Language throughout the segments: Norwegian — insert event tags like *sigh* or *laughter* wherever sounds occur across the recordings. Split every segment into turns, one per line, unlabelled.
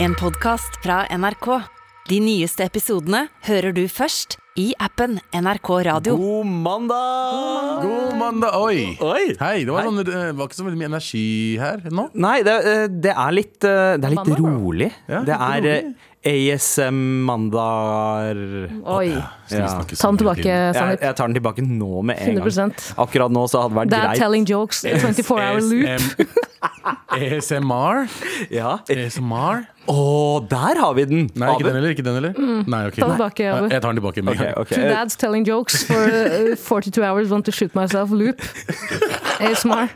En podcast fra NRK. De nyeste episodene hører du først i appen NRK Radio.
God mandag!
God mandag, oi!
Oi!
Hei, det var,
Hei.
Sånn, det var ikke så veldig mye energi her nå.
Nei, det, eh, det er litt, eh, det er litt rolig.
Ja,
det
litt
er eh, ASM-mandager
Oi.
Skal vi
Ja.
snakke
Ta den
sånn hele
tilbake,
tiden?
jeg,
Sandeep.
jeg tar den tilbake nå med en
100%.
gang. Akkurat nå så hadde det vært
Det er
greit.
telling jokes. 24 hour loop.
ASM ASMR?
Ja.
ASMR?
Å, der har vi den!
Nei, ikke
Abu.
den heller. Ikke den heller. Nei, ok.
Mm. Ta den tilbake,
Nei,
Abu.
Jeg tar den tilbake med en
Ok,
gang.
ok.
Two dads telling jokes for uh, 42 hours want to shoot myself loop. ASMR.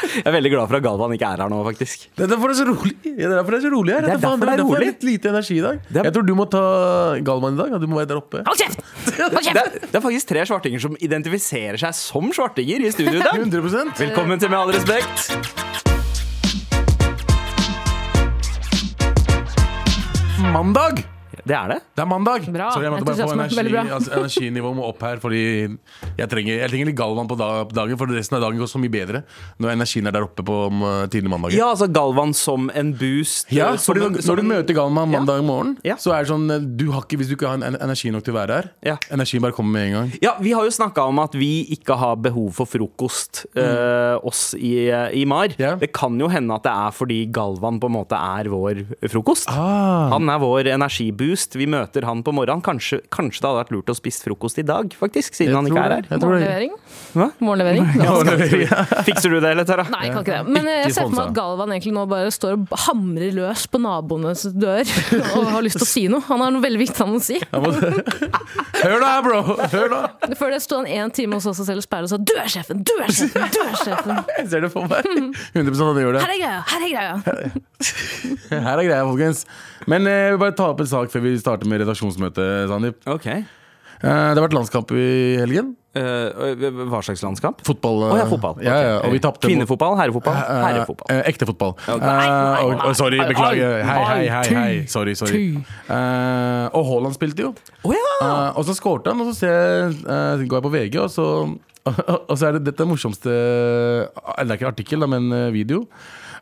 Jeg er veldig glad for at Galvan ikke er her nå, faktisk.
Det er derfor det er så rolig. Ja, Det er derfor det er så rolig her.
Det er
faen-
derfor det er
derfor
rolig.
litt lite energi i dag.
Det er-
Jeg tror du må ta Galvan i dag. og Du må være der oppe.
Hold kjeft! Hold
Det
kjeft!
er, det er faktisk tre svartinger som identifiserer seg som svartinger i studio i dag.
100
Velkommen til Med all respekt.
Mandag!
Det er det.
Det er mandag!
Bra.
Sorry, jeg måtte bare få
Entusiasme.
energi,
Veldig bra.
*laughs* altså, energinivået må opp her, fordi jeg trenger, jeg trenger litt Galvan på da- dagen, for resten av dagen går så mye bedre når energien er der oppe på om, eh, tidlig mandag.
Ja, altså Galvan som en boost.
Ja,
eh, som
fordi
en-
når,
som
når du
en-
møter Galman mandag morgen,
Ja.
så er det sånn eh, du har ikke, Hvis du ikke har en- energi nok til å være her,
Ja.
energien bare kommer med en gang.
Ja, vi har jo snakka om at vi ikke har behov for frokost, eh, oss i, i MAR.
Mm. Ja.
Det kan jo hende at det er fordi Galvan på en måte er vår frokost.
Ah.
Han er vår energiboost. Vi møter han på morgenen. Kanskje, kanskje det hadde vært lurt å spise frokost i dag, faktisk, siden han ikke er her.
Jeg tror det.
Morgenlevering.
Hva?
Morgenlevering.
Fikser du det, eller, Tara?
Nei, jeg kan ikke det. Men eh, jeg
Ikke
ser for meg
sponsa.
at Galvan egentlig nå bare står og hamrer løs på naboenes dør og har lyst til å si noe. Han har noe veldig viktig han å si.
Jeg må- *laughs* Hør nå her, bro! Hør nå!
Før det sto han én time hos oss og selv speilet og sa 'du er sjefen, du er sjefen, du er sjefen'.
Jeg ser det for meg. 100 at det gjør det.
Her er greia, her er greia.
Her er greia, folkens. Men eh, jeg vil bare ta opp en sak før vi starter med redaksjonsmøtet, Sandeep.
Ok.
Eh, Det har vært landskamp i helgen.
Eh, hva slags landskamp?
Fotball. eh,
Å ja, fotball. Ok.
Ja, ja, og vi tapte mot-
Kvinnefotball, herrefotball,
Eh,
herrefotball.
eh, ekte fotball. Eh, og- og sorry, beklager. Hei, hei, hei. hei. Sorry, sorry. Eh, og Haaland spilte jo.
Å ja!
Eh, og så skårte han, og så ser jeg, eh, går jeg på VG, og så, *laughs* og så er det dette er morsomste Eller det er ikke artikkel, da, men eh, video.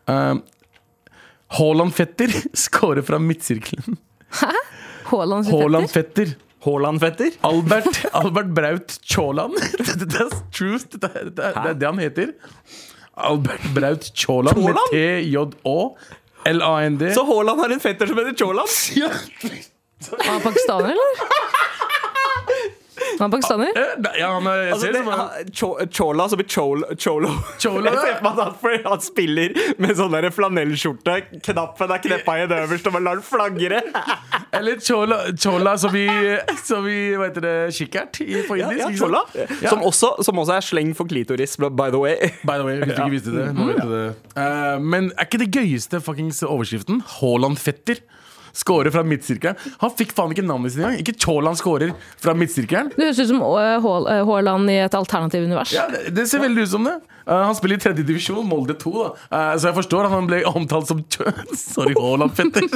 Eh, Haaland-fetter *laughs* skårer fra midtsirkelen.
Haaland sitt etter.
Haaland-fetter.
Haaland-fetter.
Albert, Albert Braut Tjåland. *laughs* Dette dette er truth. Dette, er- dette, er- det er det han heter. Albert Braut Tjåland med
Tjåland?
T-J-Å-L-A-N-D.
Så Haaland har en fetter som heter Tjåland?
Ja.
Er han pakistaner, eller? Er han pakistaner?
Eh, nei, Ja, han er, jeg
Altså,
ser det som han
det, Cho- Chola som er cholo, cholo.
Cholo,
Jeg
ja.
ser for meg at han, fordi han spiller med sånn der flanellskjorte Knappen er kneppa i det øverste Og man lar den flagre
Eller Chola, chola som i, som i hva heter det, kikkert i, på indisk. ikke sant?
Chola
Ja.
som, også, som også er sleng for klitoris By the way
By the way, hvis du ikke visste det. Nå vet du det. Eh, men er ikke det gøyeste fuckings overskriften? Haaland-fetter. Skårer fra midtsirkelen. Han fikk faen ikke navnet sitt engang. Ikke Cholan skårer fra midtsirkelen.
Det høres ut som eh, Haal- eh, Haaland i et alternativ univers.
Ja, det, det ser veldig ut som det. Eh, han spiller i tredje divisjon, Molde 2. Da. Eh, så jeg forstår at han ble omtalt som tjø... *laughs* Sorry,
*laughs*
Haaland-fetter.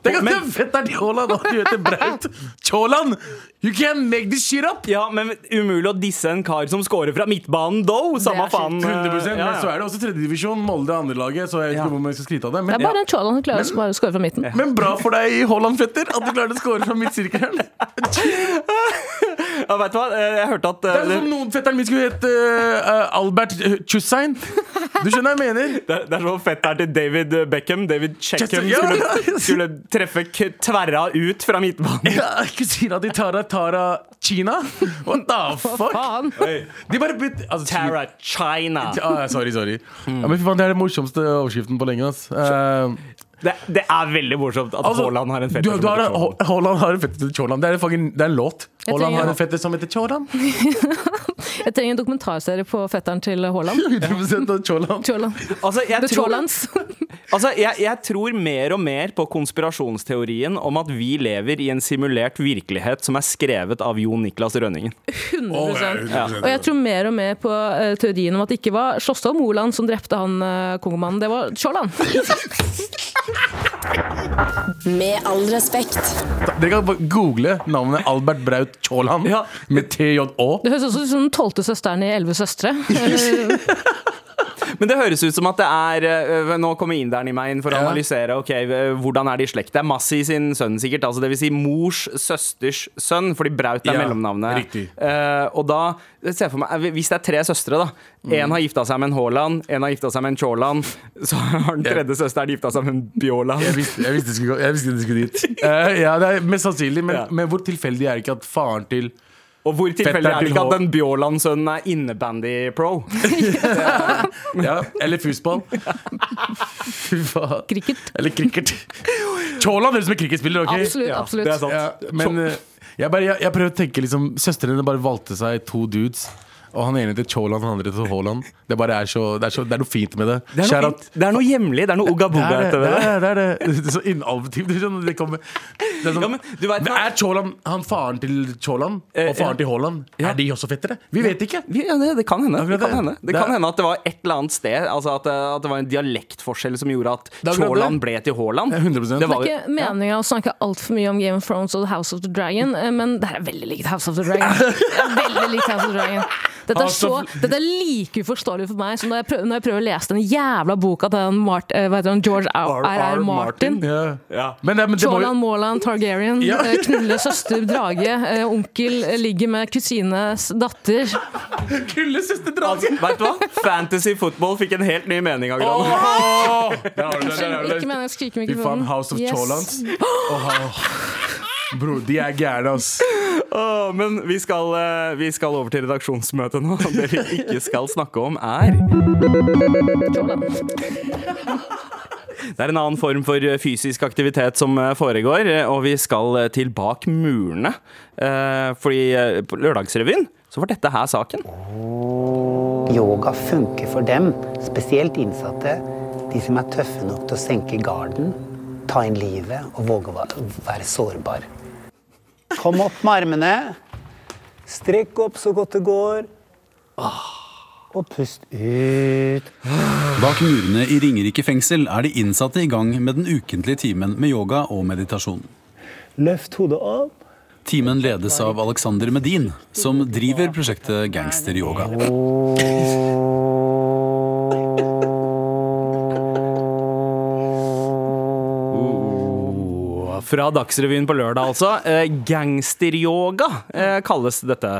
Tenk at det er fetteren til Haaland, og du heter Braut Tjåland! You can make this shit up!
*laughs* Ja, men umulig å disse en kar som scorer fra midtbanen Though, samme
sjukt.
faen
100%,
Eh, Ja,
Men så
ja.
er det også tredje divisjon, Molde er andre laget, så jeg vet
Ja.
ikke om jeg skal skryte av det.
Det
Men,
er bare en Haaland som klarer å bare skåre fra midten.
men bra for deg, Haaland-fetter, at du klarte å score fra midtsirkelen.
ja, vet du hva? Eh, Jeg hørte at
Det
eh,
er som
det,
om noen fetteren min skulle hete eh, Albert Chussein. Du skjønner hva jeg mener?
det er- det er sånn fett der til David Beckham David Checkham
Ja, ja.
skulle, skulle treffe k- tverra ut fra midtbanen
Ja, ikke sier at de Tara Tara Kina? What the fuck?
Faen!
De bare bytter altså,
Tara China
Chi- ah, Sorry, sorry.
Hmm.
Ja, men fy faen, Det er den morsomste overskriften på lenge. Ass. Eh,
Det, det er veldig morsomt at
altså,
Haaland har en
du,
fetter
du har,
som heter Haaland.
Ha- Haaland har en fetter som heter Tjåland. Det er, en fucking- det er en låt.
Jeg
Haaland har
trenger-
en fetter som heter *laughs* Tjåland.
Jeg trenger en dokumentarserie på fetteren til Haaland.
100% av Tjåland. *laughs*
Haaland.
Altså, jeg,
The
tror,
Haalands.
altså jeg, jeg tror mer og mer på konspirasjonsteorien om at vi lever i en simulert virkelighet som er skrevet av Jon Niklas Rønningen.
100 Og jeg tror mer og mer på eh, teorien om at det ikke var Slåstad Moland som drepte han eh, kongomannen, det var Haaland.
Med all respekt.
Dere kan bare google navnet Albert Braut Tjåland
Ja.
med TJÅ. *laughs*
Det høres også ut som den tolvte søsteren i Elleve søstre. Eh,
Men det høres ut som at det er øh, Nå kommer inderen i meg inn for å
Ja.
analysere Ok, øh, hvordan er de i slekt. Det er Massi sin sønn, sikkert. Altså, det vil si mors søsters sønn, fordi Braut er
Ja,
mellomnavnet.
riktig.
Eh, og da ser jeg for meg eh, Hvis det er tre søstre, da.
Mm.
Én har gifta seg med en Haaland, én har gifta seg med en Chaaland, *laughs* så har den
Ja.
tredje søsteren gifta seg med en Bjåland.
Jeg visste, jeg visste, det skulle, gå- jeg visste det skulle dit. Eh, ja, det er mest sannsynlig, men,
Ja.
men hvor tilfeldig er det ikke at faren til
Og hvor tilfeldig
Fetteren
er det
til
ikke at
Haaland.
den Bjåland-sønnen er
*laughs*
innebandy-pro?
ja, Eller fusball. Fy faen.
Cricket.
Eller cricket. Chaaland høres ut som en cricketspiller. ok?
Absolutt. absolutt.
det er sant.
Ja, men eh, jeg, bare, jeg, jeg prøver å tenke liksom Søstrene bare valgte seg to dudes. Og han ene til Chaaland, han andre til Haaland. Det, bare er så, det, er så, det er noe fint med det.
Det er noe,
Shout-out.
fint. det er noe hjemlig. Det er noe
Det
ugga-bugga.
er det,
etter
det
det.
er det. Det er, det. *laughs* det er så innalvativt. Det er sånn, det kommer- det er sånn-
Ja, men du vet
Men
hva-
er Chaaland han faren til Chaaland
Eh,
og faren
ja.
til Haaland?
Ja.
Er de også fettere? Vi vet ikke.
Vi- Ja, det, det kan hende. Det
Akkurat
kan
det.
hende. Det
Det er-
kan hende at det var et eller annet sted Altså at, eh, at det var en dialektforskjell som gjorde at
er akkurat det.
Chaaland ble til Haaland.
Ja,
Det
100%.
Det
var,
er ikke meninga å snakke altfor mye om Game of Thrones og House of the Dragon, eh, men det her er veldig likt House of the
*laughs*
Dragon. Det er Veldig likt House of the Dragon. Dette er,
House
så,
of-
dette er like uforståelig for meg som når jeg prøver, når jeg prøver å lese den jævla boka til han Mart, eh, hva heter han, George R.R. Martin. Martin.
Ja.
Ja.
Men, det- men det må
Chaulan,
jo
Morland, Targaryen.
Ja.
eh, Knulle søster, drage. eh, Onkel eh, ligger med kusines datter.
Kulle søster
altså, vet du hva? Fantasy football fikk en helt ny mening av Gran.
Ikke meningen å skrike i
Fy faen,
mikrofonen.
House of
Yes.
Chaalands. Åh, Bror, de er gærne, ass.
Åh, Men vi skal, eh, vi skal over til redaksjonsmøtet nå. Det vi ikke skal snakke om, er
Chaulan.
Det er en annen form for eh, fysisk aktivitet som eh, foregår, eh, og vi skal eh, til bak murene. Eh, Fordi eh, på Lørdagsrevyen så var dette her saken.
Yoga funker for dem, spesielt innsatte. De som er tøffe nok til å senke garden, ta inn livet og våge å va- være sårbar. Kom opp med armene. Strekk opp så godt det går. Åh. Og pust ut.
Bak murene i Ringerike fengsel er de innsatte i gang med den ukentlige timen med yoga og meditasjon.
Løft hodet opp.
Timen ledes av Alexander Medin, som driver prosjektet Gangsteryoga.
Fra Dagsrevyen på lørdag, altså. Eh, Gangsteryoga eh, kalles dette.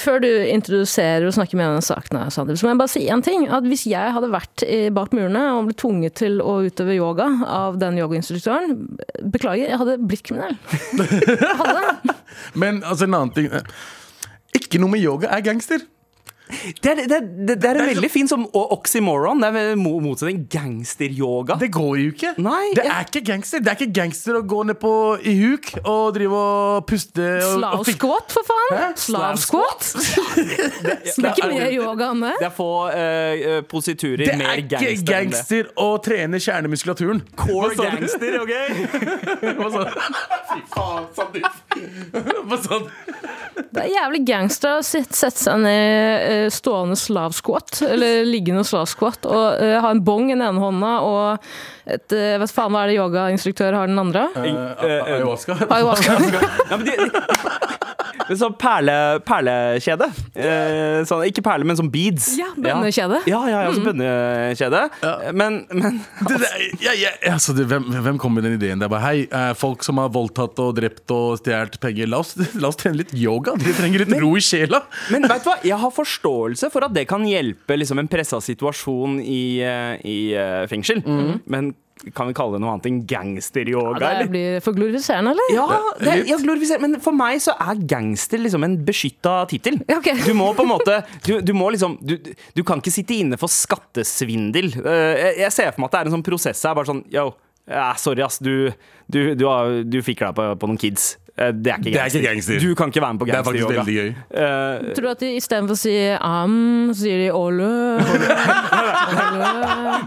Før du introduserer og snakker med denne saken, her, Sander, så må jeg bare si en ting. At hvis jeg hadde vært i- bak murene og blitt tvunget til å utøve yoga av den yogainstruktøren, beklager, jeg hadde blitt kriminell. Jeg Hadde.
*laughs*
det.
Men altså, en annen ting eh, Ikke noe med yoga er gangster.
Det er, det er, det er en veldig fin som og oxymoron. Det er mo- motsetning gangsteryoga.
Det går jo ikke.
Nei,
det
jeg-
er ikke gangster Det er ikke gangster å gå ned på i huk og drive og puste og, og
Slav
fikse-
squat, for faen!
Hæ?
Slav squat!
*laughs* det
Ikke
er-
mer yoga enn
Det
det.
er få eh, eh, positurer
Det
mer
er ikke
gangster, enn det.
gangster å trene kjernemuskulaturen.
Core
Hva sa du?
gangster, OK?
Hva sa du? Fy faen, Sandeep. Hva sa du?
Det er jævlig gangster å sit- sette seg ned eh, stående slav squat,
*laughs*
eller liggende slav squat, og eh, ha en bong i den ene hånda og et eh, Vet faen hva er det yogainstruktør har den andre?
Eh, Ayahuasca?
Ayahuasca.
Ja, men de, *laughs* de, sånn perle, perlekjede. Eh, sånn, ikke perle, men sånn beads.
Ja, bønnekjede. Mm.
Ja, ja, ja, altså bønnekjede. Men, men
Det, det, ja, ja, altså, det, hvem, hvem kom med den ideen? Det er bare, Hei, eh, folk som har voldtatt og drept og stjålet penger, la oss, *laughs* la oss trene litt yoga. De trenger litt ro i sjela.
Men vet du hva, jeg har forståelse for at det kan hjelpe liksom, en pressa situasjon i, eh, i eh, fengsel. Men kan vi kalle det noe annet enn gangsteryoga?
Mhm. Ja,
eller?
det blir for glorifiserende, eller?
Ja, det, ja glorifiser, men for meg så er gangster liksom en beskytta tittel.
Ja, ok.
Du må på en måte Du, du må liksom du, du kan ikke sitte inne for skattesvindel. Eh, jeg, jeg ser for meg at det er en sånn prosess her. Bare sånn yo, eh, sorry, ass. Du, du, du, har- du fikk deg på, på noen kids. Eh, det er ikke
Det er
gangster.
ikke gangster.
Du kan ikke være med på
Det er faktisk
gangsteryoga.
veldig gøy.
Eh,
Tror du at de istedenfor å si am, så sier de ålø?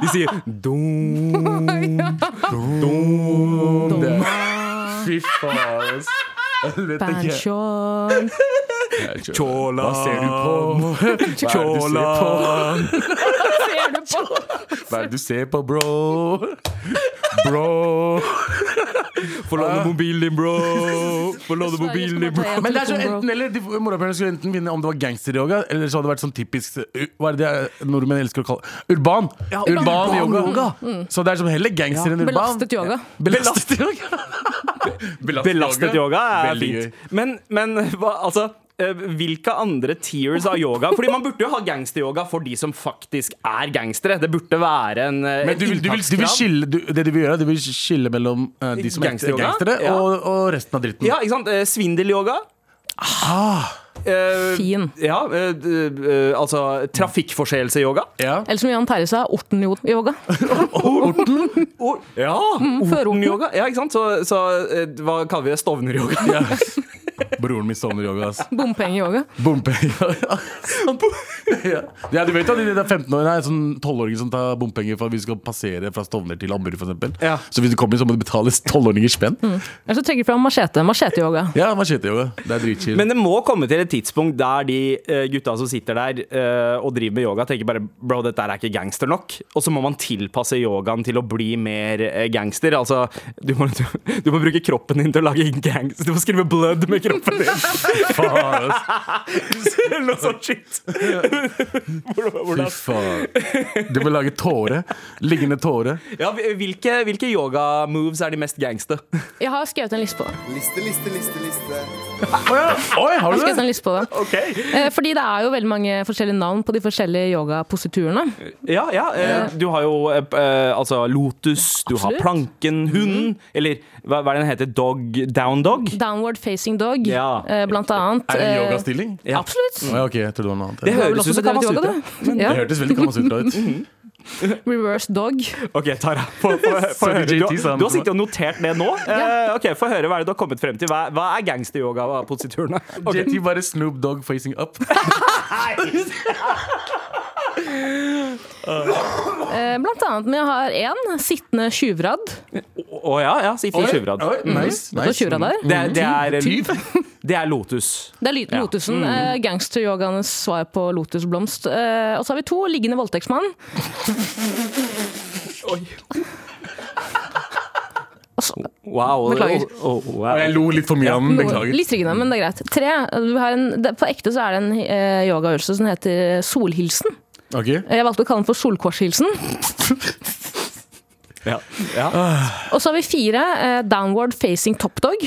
de *laughs* sier dum.
Fy faen, altså. ass. Jeg vet ikke.
Banshorn
Hva ser du på? Hva er det du ser på?
Ser du på?
Hva er det du ser på, bro? Bro
Få låne mobilen din, bro! Få låne
Sverige
mobilen
som
din,
er
bro!
tre.
Ah. Men det er så enten eller de morapulerne skulle enten vinne om det var gangsteryoga, eller så hadde det vært sånn typisk uh, Hva er det de- nordmenn elsker å kalle urban?
Ja,
urban,
urban
yoga. Mm,
yoga. Mm.
Så det er som heller gangster enn urban.
Belastet yoga.
Belastet yoga.
*laughs*
Belastet,
Belastet yoga er
Veldig
fint. Men, men hva, altså eh, hvilke andre tiers av yoga?
*laughs*
Fordi Man burde jo ha gangsteryoga for de som faktisk er gangstere. Det burde være en, eh,
Men
et
du vil, du vil, du vil
inntakskrav.
skille, du, det du vil gjøre, du vil skille mellom eh, de som er
Gangsteryoga?
gangstere,
Ja.
og, og resten av dritten.
Ja, ikke sant? Eh, Svindelyoga.
Ah.
Eh,
Fin.
Ja, eh, d- eh, altså trafikkforseelse-yoga.
Ja.
Eller som Jan Terje sa, *laughs* Orten-yoga.
Og- Ja! Orten-yoga. Ja, ikke sant? Så, så eh, hva kaller vi det? Stovner-yoga?
Ja. Broren min sovner yoga,
*laughs*
ass.
Bompengeyoga.
Bompenger. ja. ja, du vet jo at de der 15-årene er sånn 12-åringer som tar bompenger for at vi skal passere fra Stovner til Ammerud, for eksempel.
Ja. Mm.
Så hvis du kommer, så må du betale 12-åringer spenn.
Eller så trekker du fram machete. Machete-yoga.
Ja, man skjeter jo. Det er dritchill.
Men det må komme til et tidspunkt der de eh, gutta som sitter der eh, og driver med yoga, tenker bare Bro, dette er ikke gangster nok. Og så må man tilpasse yogaen til å bli mer eh, gangster. Altså, du må, du, du må bruke kroppen din til å lage gangster. Du må skrive 'blood' med kroppen din. *laughs*
faen, ass.
Eller noe sånt shit. Hvordan-
Fy
hvordan-
faen. Du må lage tåre. Liggende tåre.
Ja, hvilke, hvilke yoga-moves er de mest gangster?
Jeg har skrevet en liste på det.
Liste, liste, liste, liste.
Oi, har
Jeg har
du
skrevet
det?
en liste på det.
Ok
Eh, Fordi det er jo veldig mange forskjellige navn på de forskjellige yogapositurene.
Ja, ja. eh, Du har jo eh, eh, altså lotus, du har
Absolutt. Mhm.
planken, hunden Eller hva, hva er det den heter? Dog, down dog?
Downward facing dog,
Ja.
eh, blant annet.
Er det en
eh,
yogastilling?
Ja.
Absolutt.
Å, ja, ok, jeg trodde det var noe annet.
Det
Det,
Du har vel
høres
også
ut som
bedrevet yoga,
Kamasutra.
du? Ja.
hørtes veldig Kamasutra ut.
Reverse dog.
Ok, Tara. Få, få, få
Sorry,
høre. Du,
JT sa han.
du har sittet og notert det nå. Eh, ok, Få høre hva er det du har kommet frem til. Hva, hva er gangsteryoga-positurene? Ok.
JT bare Snoop Dogg facing up.
Eh, Blant annet, men jeg har én sittende tjuvradd.
Å ja, ja, si for tjuvrad.
Oi, Nice,
Det,
nice.
Mm. der.
Det, er- det,
Tyv?
er- *laughs* det er lotus.
det er ly-
Ja.
lotusen.
Mm.
Eh, Gangsteryogaenes svar på lotusblomst. Eh, og så har vi to
*laughs*
liggende voldtektsmann. Altså,
Wow.
Beklager.
Å, å, wow.
Jeg lo litt for mye av den,
Noe,
beklager.
litt riggende, men det er greit. Tre, du har en, det, På ekte så er det en eh, yogaøvelse som heter solhilsen.
Ok.
Jeg valgte å kalle den for solkorshilsen.
Ja. Ja.
Og så har vi fire eh, downward facing topdog.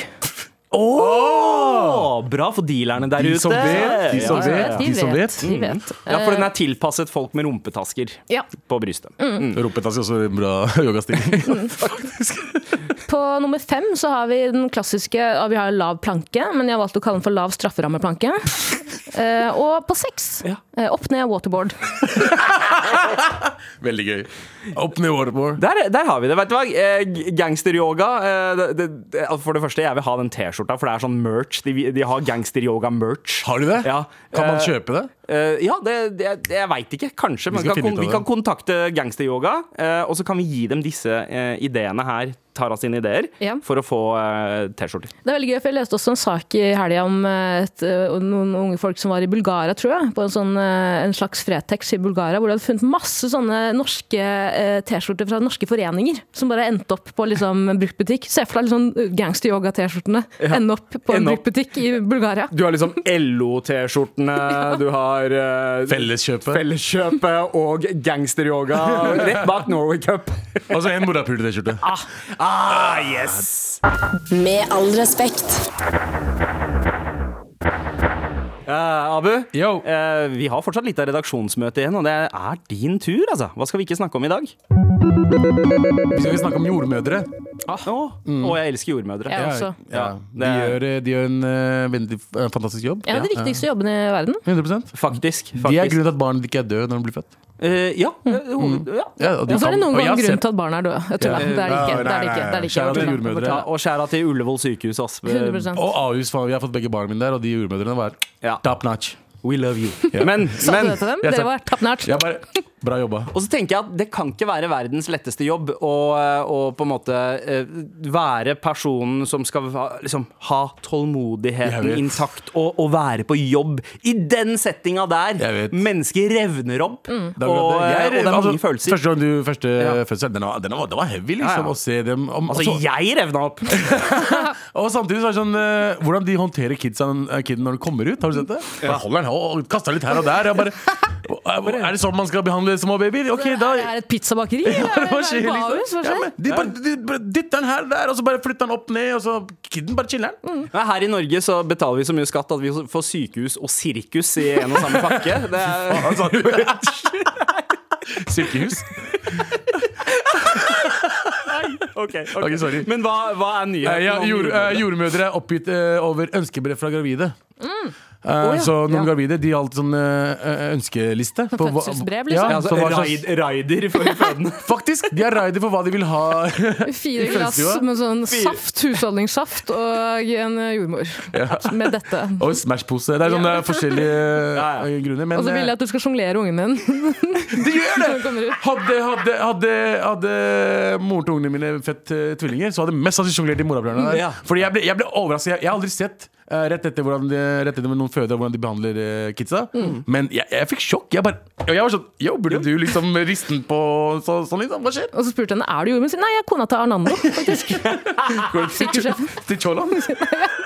Å, bra for dealerne der
De
ute.
som vet, de som
Ja, ja, ja.
vet, de som vet.
De vet.
Ja, for den er tilpasset folk med rumpetasker
Ja.
på brystet.
Mm. Rumpetaske er også en bra *laughs* yogastilling.
På nummer fem så har vi den klassiske ja, Vi har lav planke, men jeg har valgt å kalle den for lav
*laughs*
strafferammerplanke. Eh, og på seks
Ja.
eh, opp ned waterboard.
Veldig gøy. Opp ned waterboard.
Der, der har vi det. Vet du hva? Eh, g- Gangsteryoga eh, det- det- det- altså, For det første, jeg vil ha den T-skjorta, for det er sånn merch. De, de har gangsteryoga-merch.
Har de det?
Ja.
Kan man
Eh,
kjøpe det?
eh, ja, det, det, jeg veit ikke. Kanskje. Men
skal
kan,
finne ut
kon-
av
vi
det.
kan kontakte gangsteryoga, eh, og så kan vi gi dem disse eh, ideene her. Tara sine ideer
Ja.
for å få eh, T-skjorter.
Det er veldig gøy, for Jeg leste også en sak i helga om eh, et, eh, noen unge folk som var i Bulgaria, tror jeg. På en, sånn, eh, en slags Fretex i Bulgaria, hvor de hadde funnet masse sånne norske eh, T-skjorter fra norske foreninger. Som bare endte opp på liksom, en bruktbutikk. Se for deg liksom, gangster-yoga-T-skjortene ende opp på en
Ende opp.
bruktbutikk i Bulgaria.
Du har liksom LO-T-skjortene, du har eh,
Felleskjøpet.
Felleskjøpet og gangsteryoga.
*laughs*
Ah, Rett bak Norway Cup.
Altså en morapuler-T-skjorte.
Ah, yes!
Med all respekt.
Eh, Abu,
Yo.
eh, vi har fortsatt litt av redaksjonsmøte igjen, og det er din tur, altså. Hva skal vi ikke snakke om i dag?
Vi skal snakke om jordmødre.
Å, å, jeg elsker jordmødre.
Jeg også.
Ja,
De,
det-
gjør, de gjør en eh, veldig eh, fantastisk jobb.
En av de viktigste jobbene i verden.
100
Faktisk. faktisk.
De er grunnen til at barnet ikke er død når de blir født.
Eh, ja, eh, hoved- ja.
Ja, og de
Og så er det
kan-
noen
og jeg har
ganger grunn
sett-
til at barn er døde. Jeg
Ja.
tuller. Det er det ikke.
Nei,
Det er det
nei,
ikke.
nei,
Det er det ikke.
nei.
Jeg
Kjære til
tuller.
jordmødre.
Ta- Og skjæra til Ullevål sykehus, ass.
100%.
Og Ahus, faen, jeg har fått begge barna mine der, og de jordmødrene var
Ja.
top notch.
We love you. Men,
Sa du
*laughs* men
det til dem?
jeg
Dere
sa-
var tappnært.
Jeg bare Bra jobba.
Og så tenker jeg at det kan ikke være verdens letteste jobb å, å på en måte eh, være personen som skal ha- liksom, ha tålmodigheten
Jeg vet.
intakt og, og være på jobb i den settinga
Jeg vet.
der. Mennesker revner opp,
Mm.
Det er
og,
akkurat det.
eh,
Jeg-
og det er mange
altså,
følelser.
Første gang du første
Ja.
fødsel, den var, den var, det var heavy, liksom,
Ja, ja.
å se dem. Om,
Altså,
altså-
jeg revna
*laughs*
opp!
Og samtidig så er det sånn eh, Hvordan de håndterer kidsa, eh, kiden når den kommer ut. Har du sett det? Bare holder den og og kaster litt her og der.
*laughs*
Jeg bare, er det sånn man skal behandle små babyer? Ok, da
Er det et pizzabakeri? Eller er det
*laughs* Hva
bare
skjer,
et
liksom?
bahus? Hva
Ja,
skjer?
men de bare de bare dytter den her og der, og så bare flytter den opp ned, og så kiden bare chiller'n.
Nei, Her i Norge så betaler vi så mye skatt at vi får sykehus og sirkus i en og samme pakke. Det er,
Altså-
*laughs*
*laughs* Silkehus.
ok, ok.
Ok, sorry.
Men hva, hva er
Eh,
nyheten?
ja,
om
jord, eh,
jordmødre?
jordmødre er oppgitt eh, over ønskebrev fra gravide.
Mm.
Eh, Så noen gravide de har alltid sånn eh, eh, ønskeliste. på hva- Ja,
fødselsbrev,
eh,
liksom?
ja, altså,
så hva slags-
raid, Raider for de fødende.
*laughs* Faktisk! De er raider for hva de vil ha.
Fire
I
glass
kveldsstua?
med sånn saft, husholdningssaft og en jordmor. Med dette.
*laughs* Og Smash-pose. Det er sånne
Ja.
forskjellige
Ja, ja.
eh, grunner. Men
Og så vil jeg at du skal sjonglere ungen min.
eh, de gjør det!
*laughs* Når den kommer ut.
Hadde, hadde, hadde, hadde moren til ungene mine født eh, tvillinger, så hadde jeg mest sannsynlig sjonglert i morapulerne. der.
Ja.
Fordi jeg ble, jeg ble overrasket. Jeg, jeg har aldri sett eh, rett etter hvordan de, rett etter noen føder og hvordan de behandler eh, kidsa.
Mm.
Men jeg, jeg fikk sjokk. Jeg, bare, og jeg var sånn Yo, burde du liksom riste den på så, sånn, liksom? Hva skjer?
Og så spurte jeg henne er du jordmor. Hun sier, Nei, jeg er kona til Arnando, faktisk. Ah, Sykehuset.
Til liksom. Tjåland?
*laughs*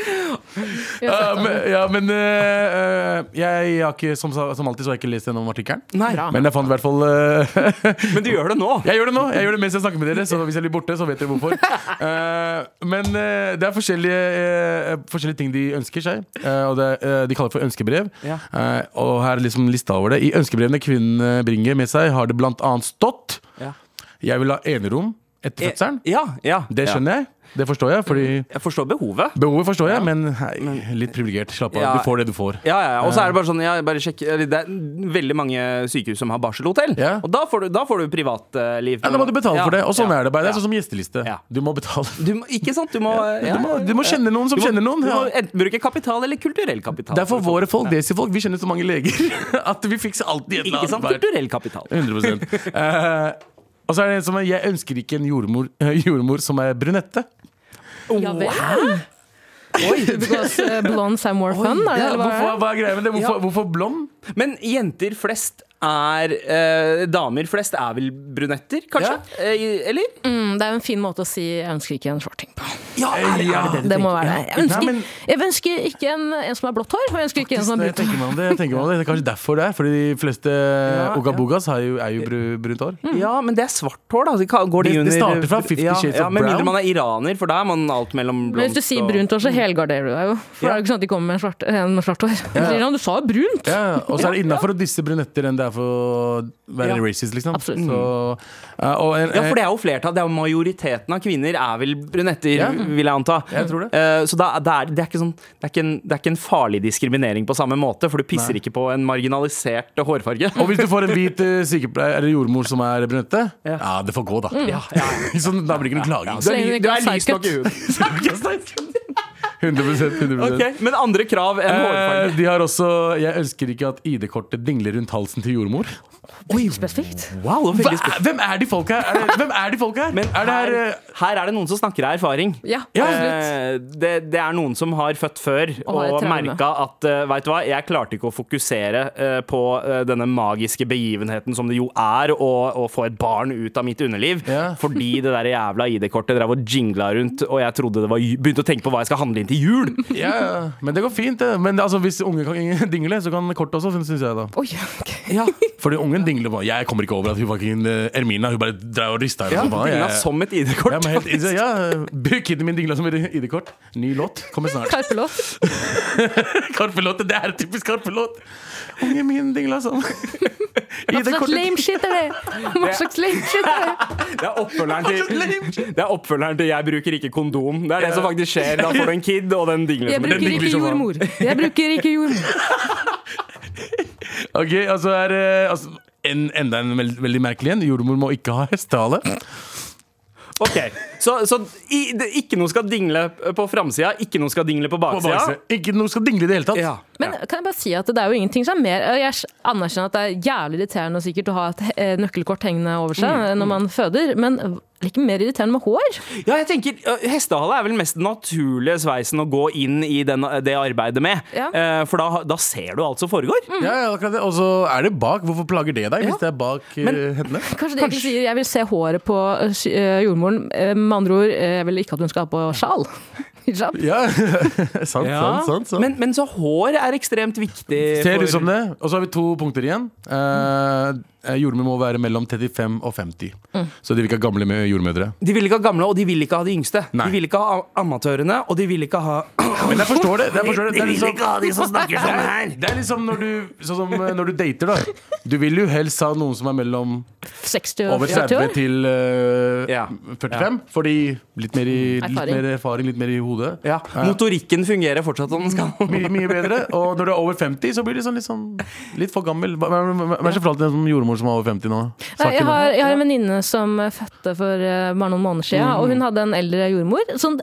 Jeg
Ja,
har sett
men,
henne.
ja, men eh, eh, jeg har ikke, som, sa- som alltid så har jeg ikke lest gjennom artikkelen.
Nei.
Men jeg fant i hvert fall eh, *laughs*
Men du gjør det nå.
Jeg gjør det nå, jeg gjør det mens jeg snakker med dere, så hvis jeg blir borte, så vet dere
*laughs*
hvorfor. Eh, men eh, det er forskjellige, eh, forskjellige ting de ønsker seg, eh, og det, eh, de kaller for ønskebrev.
Ja.
Eh, og her er liksom lista over det. I ønskebrevene kvinnene bringer med seg, har det blant annet stått
Ja.
Jeg vil ha enerom etter Eh, fødselen.
Ja, E- ja.
Det skjønner jeg, det forstår jeg, fordi
Jeg forstår behovet.
Behovet forstår jeg, men hei, litt privilegert. Slapp av,
Ja.
du får det du får.
Ja, ja, ja. Og så er det bare sånn ja, bare sjekk, eller Det er veldig mange sykehus som har barselhotell.
Ja.
Og da får du, da får du privatliv.
Ja, da må du betale for det, og sånn
Ja.
er det bare. Det er
Ja.
sånn som gjesteliste.
Ja.
Du må betale.
Du må, ikke sant? Du må, ja.
Du må, du må kjenne noen som kjenner noen.
Du må
Ja.
enten bruke kapital eller kulturell kapital.
Det er for våre folk, desi-folk. Vi kjenner så mange leger *laughs* at vi fikser alltid et eller
Ikke sant?
annet.
Kulturell kapital.
*laughs* 100 Eh, Og så er det en som er Jeg ønsker ikke en jordmor, eh, jordmor som er brunette.
Ja vel? Because eh, blondes have more fun? Er det, eller
Hvorfor,
hva er det?
Sånn, hva er greia med det? Hvorfor,
Ja.
hvorfor blond?
Men jenter flest er eh, Damer flest er vel brunetter, kanskje? Eh, eller?
Mm, det er jo en fin måte å si 'jeg ønsker ikke en shorting' på.
Ja, er,
Ja.
er det det du
Det må
tenker?
være det. Jeg
Nei,
ønsker,
men-
jeg ønsker ikke en, en som har blått hår, og jeg ønsker ikke en som
sånn
har
Nei, Jeg
brunt hår.
tenker meg om det, jeg tenker meg om det. det er kanskje derfor det er. Fordi de fleste eh,
Ja, ja. Mm.
ogabogas er jo, er jo bru- brunt hår.
Ja, men det er svart hår, da. Så ka- Går de
Det- det
under
starter fra Fifty
ja,
Shades
ja,
of
Med
Brown.
mindre man er iraner, for da er man alt mellom blondt
Men hvis du sier brunt hår, så helgarderer du deg jo. For det er jo ikke sånn at de kommer med en svart, en med svart hår. De sier sånn, du sa jo brunt!
Ja, og så er det innafor å disse brunetter enn det er for å være
Ja. Mm.
racist, liksom.
Absolutt.
Så, eh, og en,
Ja, for det er jo flertall. Det er jo majoriteten av kvinner er vel brunetter,
Ja.
vil jeg anta.
Jeg tror det.
Eh, Så da, det, er, det, er ikke sånn, det, er ikke en, det er ikke en farlig diskriminering på samme måte, for du pisser ikke på en marginalisert hårfarge.
Og hvis du får en hvit eh, sykepleier eller jordmor som er brunette, ja,
Ja. Mm.
det får gå, da.
Ja, ja.
*laughs* Så da blir det ikke noe klaging.
Så lenge du ikke
du
er
er lys
psycho.
nok i huden. *laughs*
100, 100%.
Ok, Men andre krav enn
Eh,
hårfarge?
de har også Jeg ønsker ikke at ID-kortet dingler rundt halsen til jordmor.
Spesifikt.
Wow, det var
Hva,
veldig spesielt.
hvem er de folka her? Er det, hvem er de folka her?
Men
er det her eh,
her er det noen som snakker av erfaring.
Ja,
Ja.
absolutt.
Eh, det, det er noen som har født før
Og har et
og,
traume.
merka at eh, Vet du hva, jeg klarte ikke å fokusere eh, på eh, denne magiske begivenheten som det jo er å, å få et barn ut av mitt underliv,
Ja.
fordi det der jævla ID-kortet drev og jingla rundt, og jeg trodde det var ju- begynte å tenke på hva jeg skal handle inn til jul.
ja, ja. Men det går fint. det. Men det, altså, hvis unge kan *laughs* dingle, så kan kortet også,
*laughs*
syns jeg. da
Oi, ok.
Ja,
Fordi ungen dingler bare Jeg kommer ikke over at hun fucking eh, Ermina Hun bare drar og rister henne
ja
som faen,
jingla
jeg-
Som et ID-kort.
ja, men helt,
faktisk.
ja, bruk kiden min dingla som et ID-kort. Ny låt kommer snart.
Karpelåt.
Karpe-låten, det er en typisk Karpe-låt! Ungen min dingla
*laughs*
som
Hva slags lame shit er det? Hva slags lame shit er det?
Det er oppfølgeren
*laughs*
til Det er oppfølgeren til 'jeg bruker ikke kondom'. Det er det som faktisk skjer. Da får du en kid, og den dingler
Jeg
som en
bruker ikke jordmor. Jeg bruker ikke jordmor.
Ok, altså er eh, altså,
*laughs*
en, Enda en veld, veldig merkelig en. Jordmor må ikke ha hestehale.
Ok, Så, så i, det, ikke noe skal dingle på framsida, ikke noe skal dingle på
På
baksida.
bakse. Ikke noe skal dingle i det hele tatt.
Altså, Ja.
Men kan jeg bare si at det er jo ingenting som er mer Jeg anerkjenner at det er jævlig irriterende sikkert å ha et eh, nøkkelkort hengende over seg
Mm.
når man føder, men det er ikke mer irriterende med hår.
Ja, jeg tenker ø, Hestehale er vel mest den naturlige sveisen å gå inn i den, det arbeidet med.
Ja. Mm.
Eh, For da, da ser du alt som foregår.
Mm. Ja, ja, akkurat det. Og så er det bak. Hvorfor plager det deg hvis det er bak eh, hendene?
*laughs*
Kanskje de egentlig sier jeg vil se håret på eh, sy- eh, jordmoren. Eh, Med andre ord, eh, jeg vil ikke at hun skal ha på sjal. *laughs* Hijab.
Ja, sant, sant, sant, sant.
Men, men så hår er ekstremt viktig.
Ser
for-
ut som det. Og så har vi to punkter igjen. Eh, eh, jordmor må være mellom 35 og 50.
Mm.
Så de vil ikke ha gamle med jordmødre.
De vil ikke ha gamle, og de vil ikke ha de yngste.
Nei.
De vil ikke ha am- amatørene, og de vil ikke ha
Men jeg forstår det. Jeg forstår det. det er liksom,
ha de som snakker sånn her!
*laughs* det er liksom når du, sånn som eh, når du dater, da. Du vil jo helst ha noen som er mellom
60 og
over 30
40 år.
til eh,
Ja.
45. Fordi litt mer, i, litt
Erfaring.
mer erfaring, litt mer i hodet. Eh,
Ja, Motorikken fungerer fortsatt som den skal.
Mye, mye bedre. Og når du er over 50, så blir du sånn litt, sånn, litt for gammel. Hva hva- hva- hva er så forholdet til en sånn jordmor som er over 50 nå?
Nei, Jeg
Snakker nå.
har, jeg har en venninne som eh, fødte for eh, bare noen måneder
Mm.
siden, og hun hadde en eldre jordmor. Sånn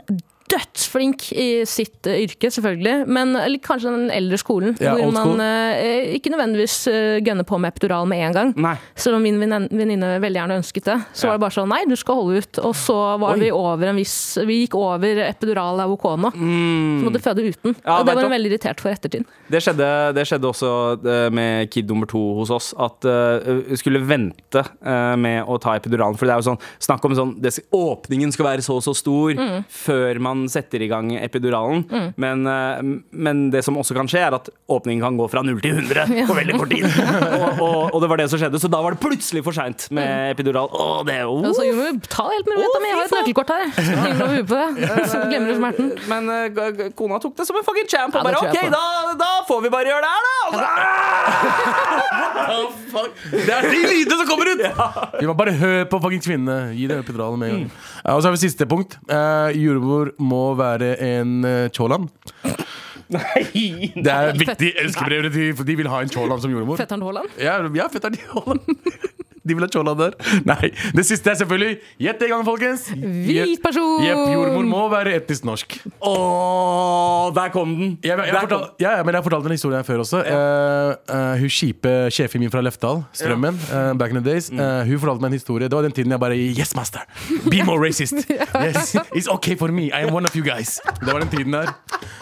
dødsflink i sitt eh, yrke, selvfølgelig, men litt kanskje den eldre skolen.
Ja,
hvor
old school.
man eh, ikke nødvendigvis eh, gønner på med epidural med en gang.
Nei.
Selv om min venin- venninne veldig gjerne ønsket det. Så var det bare sånn nei, du skal holde ut. Og så var vi over en viss Vi gikk over epidural er ok nå. Så måtte føde uten.
Mm. Ja,
og det
vet
var hun
du-
veldig irritert for ettertid.
Det skjedde, det skjedde også eh, med kid nummer to hos oss. At eh, vi skulle vente eh, med å ta epiduralen. For det er jo sånn snakk om sånn det, Åpningen skal være så og så stor
Mm.
før man setter i gang epiduralen. Men, eh, men det som også kan skje, er at åpningen kan gå fra 0 til 100 på veldig
*laughs*
kort tid. og, og, og det var det som skjedde. Så da var det plutselig for seint med epidural. Å, det er
Og
jo
Mm. så jordmor, ta helt med ro,
Å,
jenta mi, jeg har
fy
et nøkkelkort her. Så henger du over
*laughs*
huet på det. Så glemmer du smerten.
Men eh, g- g- kona tok det som en fucking champ. Og
Ja, det
bare
tror
OK,
jeg på.
da, da får vi bare gjøre det her, da! Og så,
Det er de lydene som kommer ut! Vi må bare høre på fucking kvinnene. Gi det epiduralen med en gang. Ja, Og så har vi siste punkt. Eh, jordmor må være en eh, cholan.
Nei!
Det er viktig. Elskerbrevet til for de vil ha en cholan som jordmor.
Fetteren Haaland.
Ja, ja fetteren til Haaland. *laughs* De vil ha cholan der. Nei. Det siste er selvfølgelig Gjett det i gang, folkens.
Hvit person.
Jepp, jordmor må være etnisk norsk.
Åh, der kom den!
Jeg, jeg,
Der
jeg, fortal, ja, ja, men jeg fortalte den historien her før også. Eh, eh, hun kjipe sjefen min fra Lefdal, Strømmen, eh, back in the days,
Mm.
eh, hun fortalte meg en historie. Det var den tiden jeg bare Yes, master! Be more
*laughs*
racist! Yes, It's okay for me. I am one of you guys. Det var den tiden der.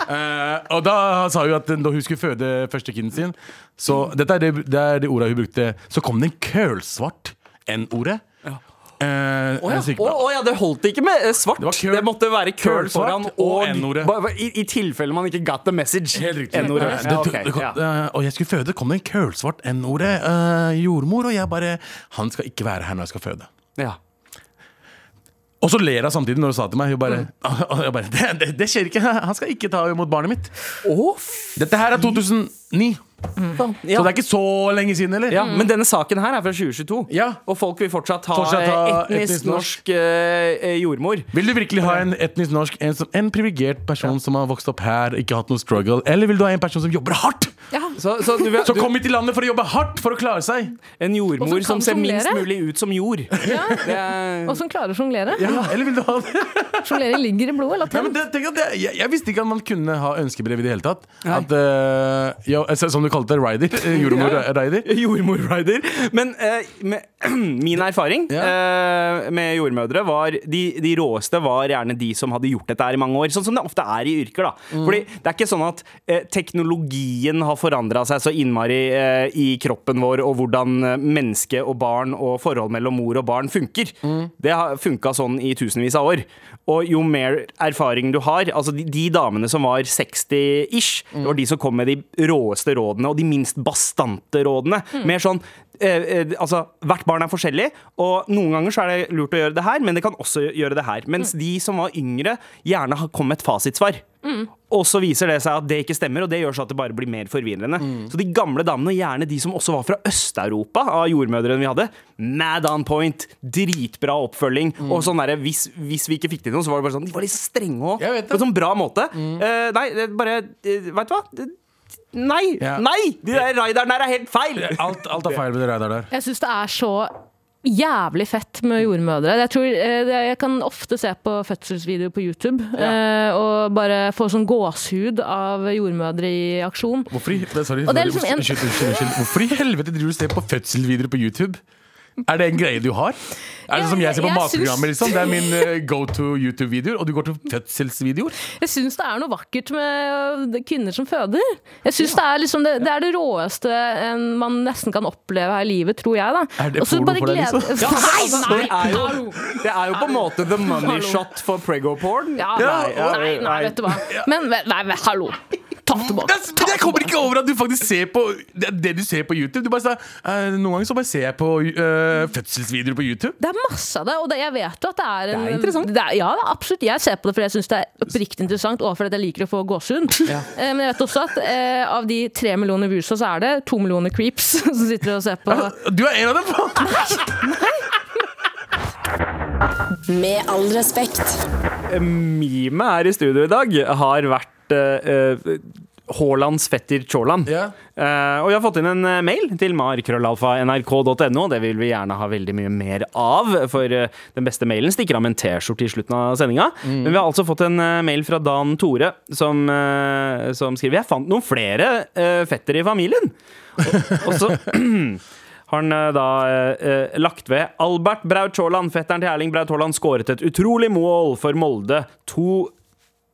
Eh, og da sa hun at da hun skulle føde første kiden sin, så dette er det, det, er det ordet hun brukte, så kom det en kølsvart N-ordet. Eh,
Å ja.
en sykdom.
Å, å ja, det holdt ikke med eh, svart.
Det var
Det,
køl-
måtte være køl
kølsvart
foran
og
og
N-ordet.
Bare- bare I, I tilfelle man ikke got the message.
Helt riktig.
N-ordet.
Ja, det-
Ja, ok,
det kom-
ja.
eh, og jeg skulle føde, det kom det en kølsvart N-ordet eh, jordmor, og jeg bare Han skal ikke være her når jeg skal føde.
Ja.
Og så ler hun samtidig når hun sa til meg. Hun bare, *laughs* og jeg bare det, det, det skjer ikke. *laughs* Han skal ikke ta imot barnet mitt.
Å, f-
Dette her er 2009,
Mm. ja.
Mm. Sånn. så det er ikke så lenge siden, eller?
ja, Men denne saken her er fra 2022,
Ja.
og folk vil fortsatt ha
Fortsatt ha
eh, etnisk,
etnisk norsk.
norsk eh, eh, jordmor.
Vil du virkelig ha en etnisk norsk, en, som- en privilegert person som har vokst opp her, ikke hatt noe struggle, eller vil du ha en person som jobber hardt?
Så, så du,
Som
du,
kom hit til landet for å jobbe hardt for å klare seg?
en
Og
jordmor
som
som
kan
ser minst
jonglere.
mulig ut som jord. Det er,
Og som klarer å sjonglere.
Ja, eller vil du ha det?
Sjonglering ligger i blodet.
Nei,
Latent.
men det, tenk at det, jeg, jeg visste ikke at man kunne ha ønskebrev i det hele tatt. At, eh, ja, altså, som du kalte det,
*laughs*
rider. eh, Jordmor rider.
*laughs* Jordmorrider. Men eh, med, *clears throat* min erfaring eh, med jordmødre var de, de råeste var gjerne de som hadde gjort dette her i mange år. Sånn som det ofte er i yrker. da Fordi det er ikke sånn at eh, teknologien har forandra seg så innmari eh, i kroppen vår, og hvordan eh, menneske og barn og forhold mellom mor og barn funker. Det har funka sånn i tusenvis av år. Og jo mer erfaring du har Altså de, de damene som var 60-ish, det var de som kom med de råeste rådene og de minst bastante rådene. Mer sånn eh, eh, Altså, hvert barn er forskjellig, og noen ganger så er det lurt å gjøre det her, men det kan også gjøre det her. Mens de som var yngre, gjerne har- kom med et fasitsvar. Og så viser det seg at det ikke stemmer, og det gjør så at det bare blir mer forvirrende.
Mm.
Så de gamle damene, og gjerne de som også var fra Øst-Europa, av jordmødrene vi hadde, mad on point, dritbra oppfølging.
Mm.
Og sånn derre hvis, hvis vi ikke fikk til noe, så var det bare sånn De var litt strenge òg,
Jeg vet det. Mm.
på en sånn bra måte. Eh, nei, det er bare uh, Veit du hva? Det- Nei!
Ja.
Nei! De der raiderne der er helt feil!
Alt, alt er feil med det der. der.
Jeg syns det er så jævlig fett med jordmødre. Jeg, tror, eh, det- jeg kan ofte se på fødselsvideoer på YouTube eh, og bare få sånn gåshud av jordmødre i aksjon.
Hvorfor i, sorry, sorry,
Og det er liksom en-
unnskyld, unnskyld, unnskyld. Hvorfor i helvete driver du og ser på fødselvideoer på YouTube? Er det en greie du har? Er det
Ja,
som jeg ser på
jeg
matprogrammer?
syns-
Liksom? Det er min eh, go to YouTube-videoer, og du går til fødselsvideoer?
Jeg syns det er noe vakkert med øh, kvinner som føder. Jeg synes det, er liksom det, det er det råeste en man nesten kan oppleve her i livet, tror jeg. Da.
Er det
Og så
porno
bare
for deg,
glede-
liksom?
altså, det, er jo, det er jo på en måte the money shot for prego-porn.
Ja,
Ja,
nei, nei, nei, vet du hva. Men ve- nei, men hallo. Ta tilbake.
Jeg, jeg kommer ikke over at du faktisk ser på det, er det du ser på YouTube. Du bare sa, eh, noen ganger så bare ser jeg på eh, fødselsvideoer på YouTube.
Det er masse av det, og det, jeg vet jo at det er en
Det er interessant.
det er- ja, det er absolutt. Jeg ser på det fordi jeg syns det er oppriktig interessant, og fordi jeg liker å få gåsehud. *laughs* Eh, Men jeg vet også at eh, av de tre millioner viewsa, så er det to millioner creeps *laughs* som sitter og ser på.
Du er en av dem! faen.
Med all respekt.
Mime Eh, her i studio i dag har vært eh, eh, Haalands fetter Chaaland.
*laughs* Ja.
Eh, og jeg har fått inn en eh, mail til markrøllalfa.nrk.no. Det vil vi gjerne ha veldig mye mer av, for eh, den beste mailen stikker av med en T-skjorte i slutten av sendinga. Men vi har altså fått en eh, mail fra Dan Tore, som, eh, som skriver Jeg fant noen flere uh, fettere i familien. Og, og så *clears throat* har han eh, da eh, eh, lagt ved Albert Braut Haaland, fetteren til Erling Braut Haaland, skåret et utrolig mål for Molde. To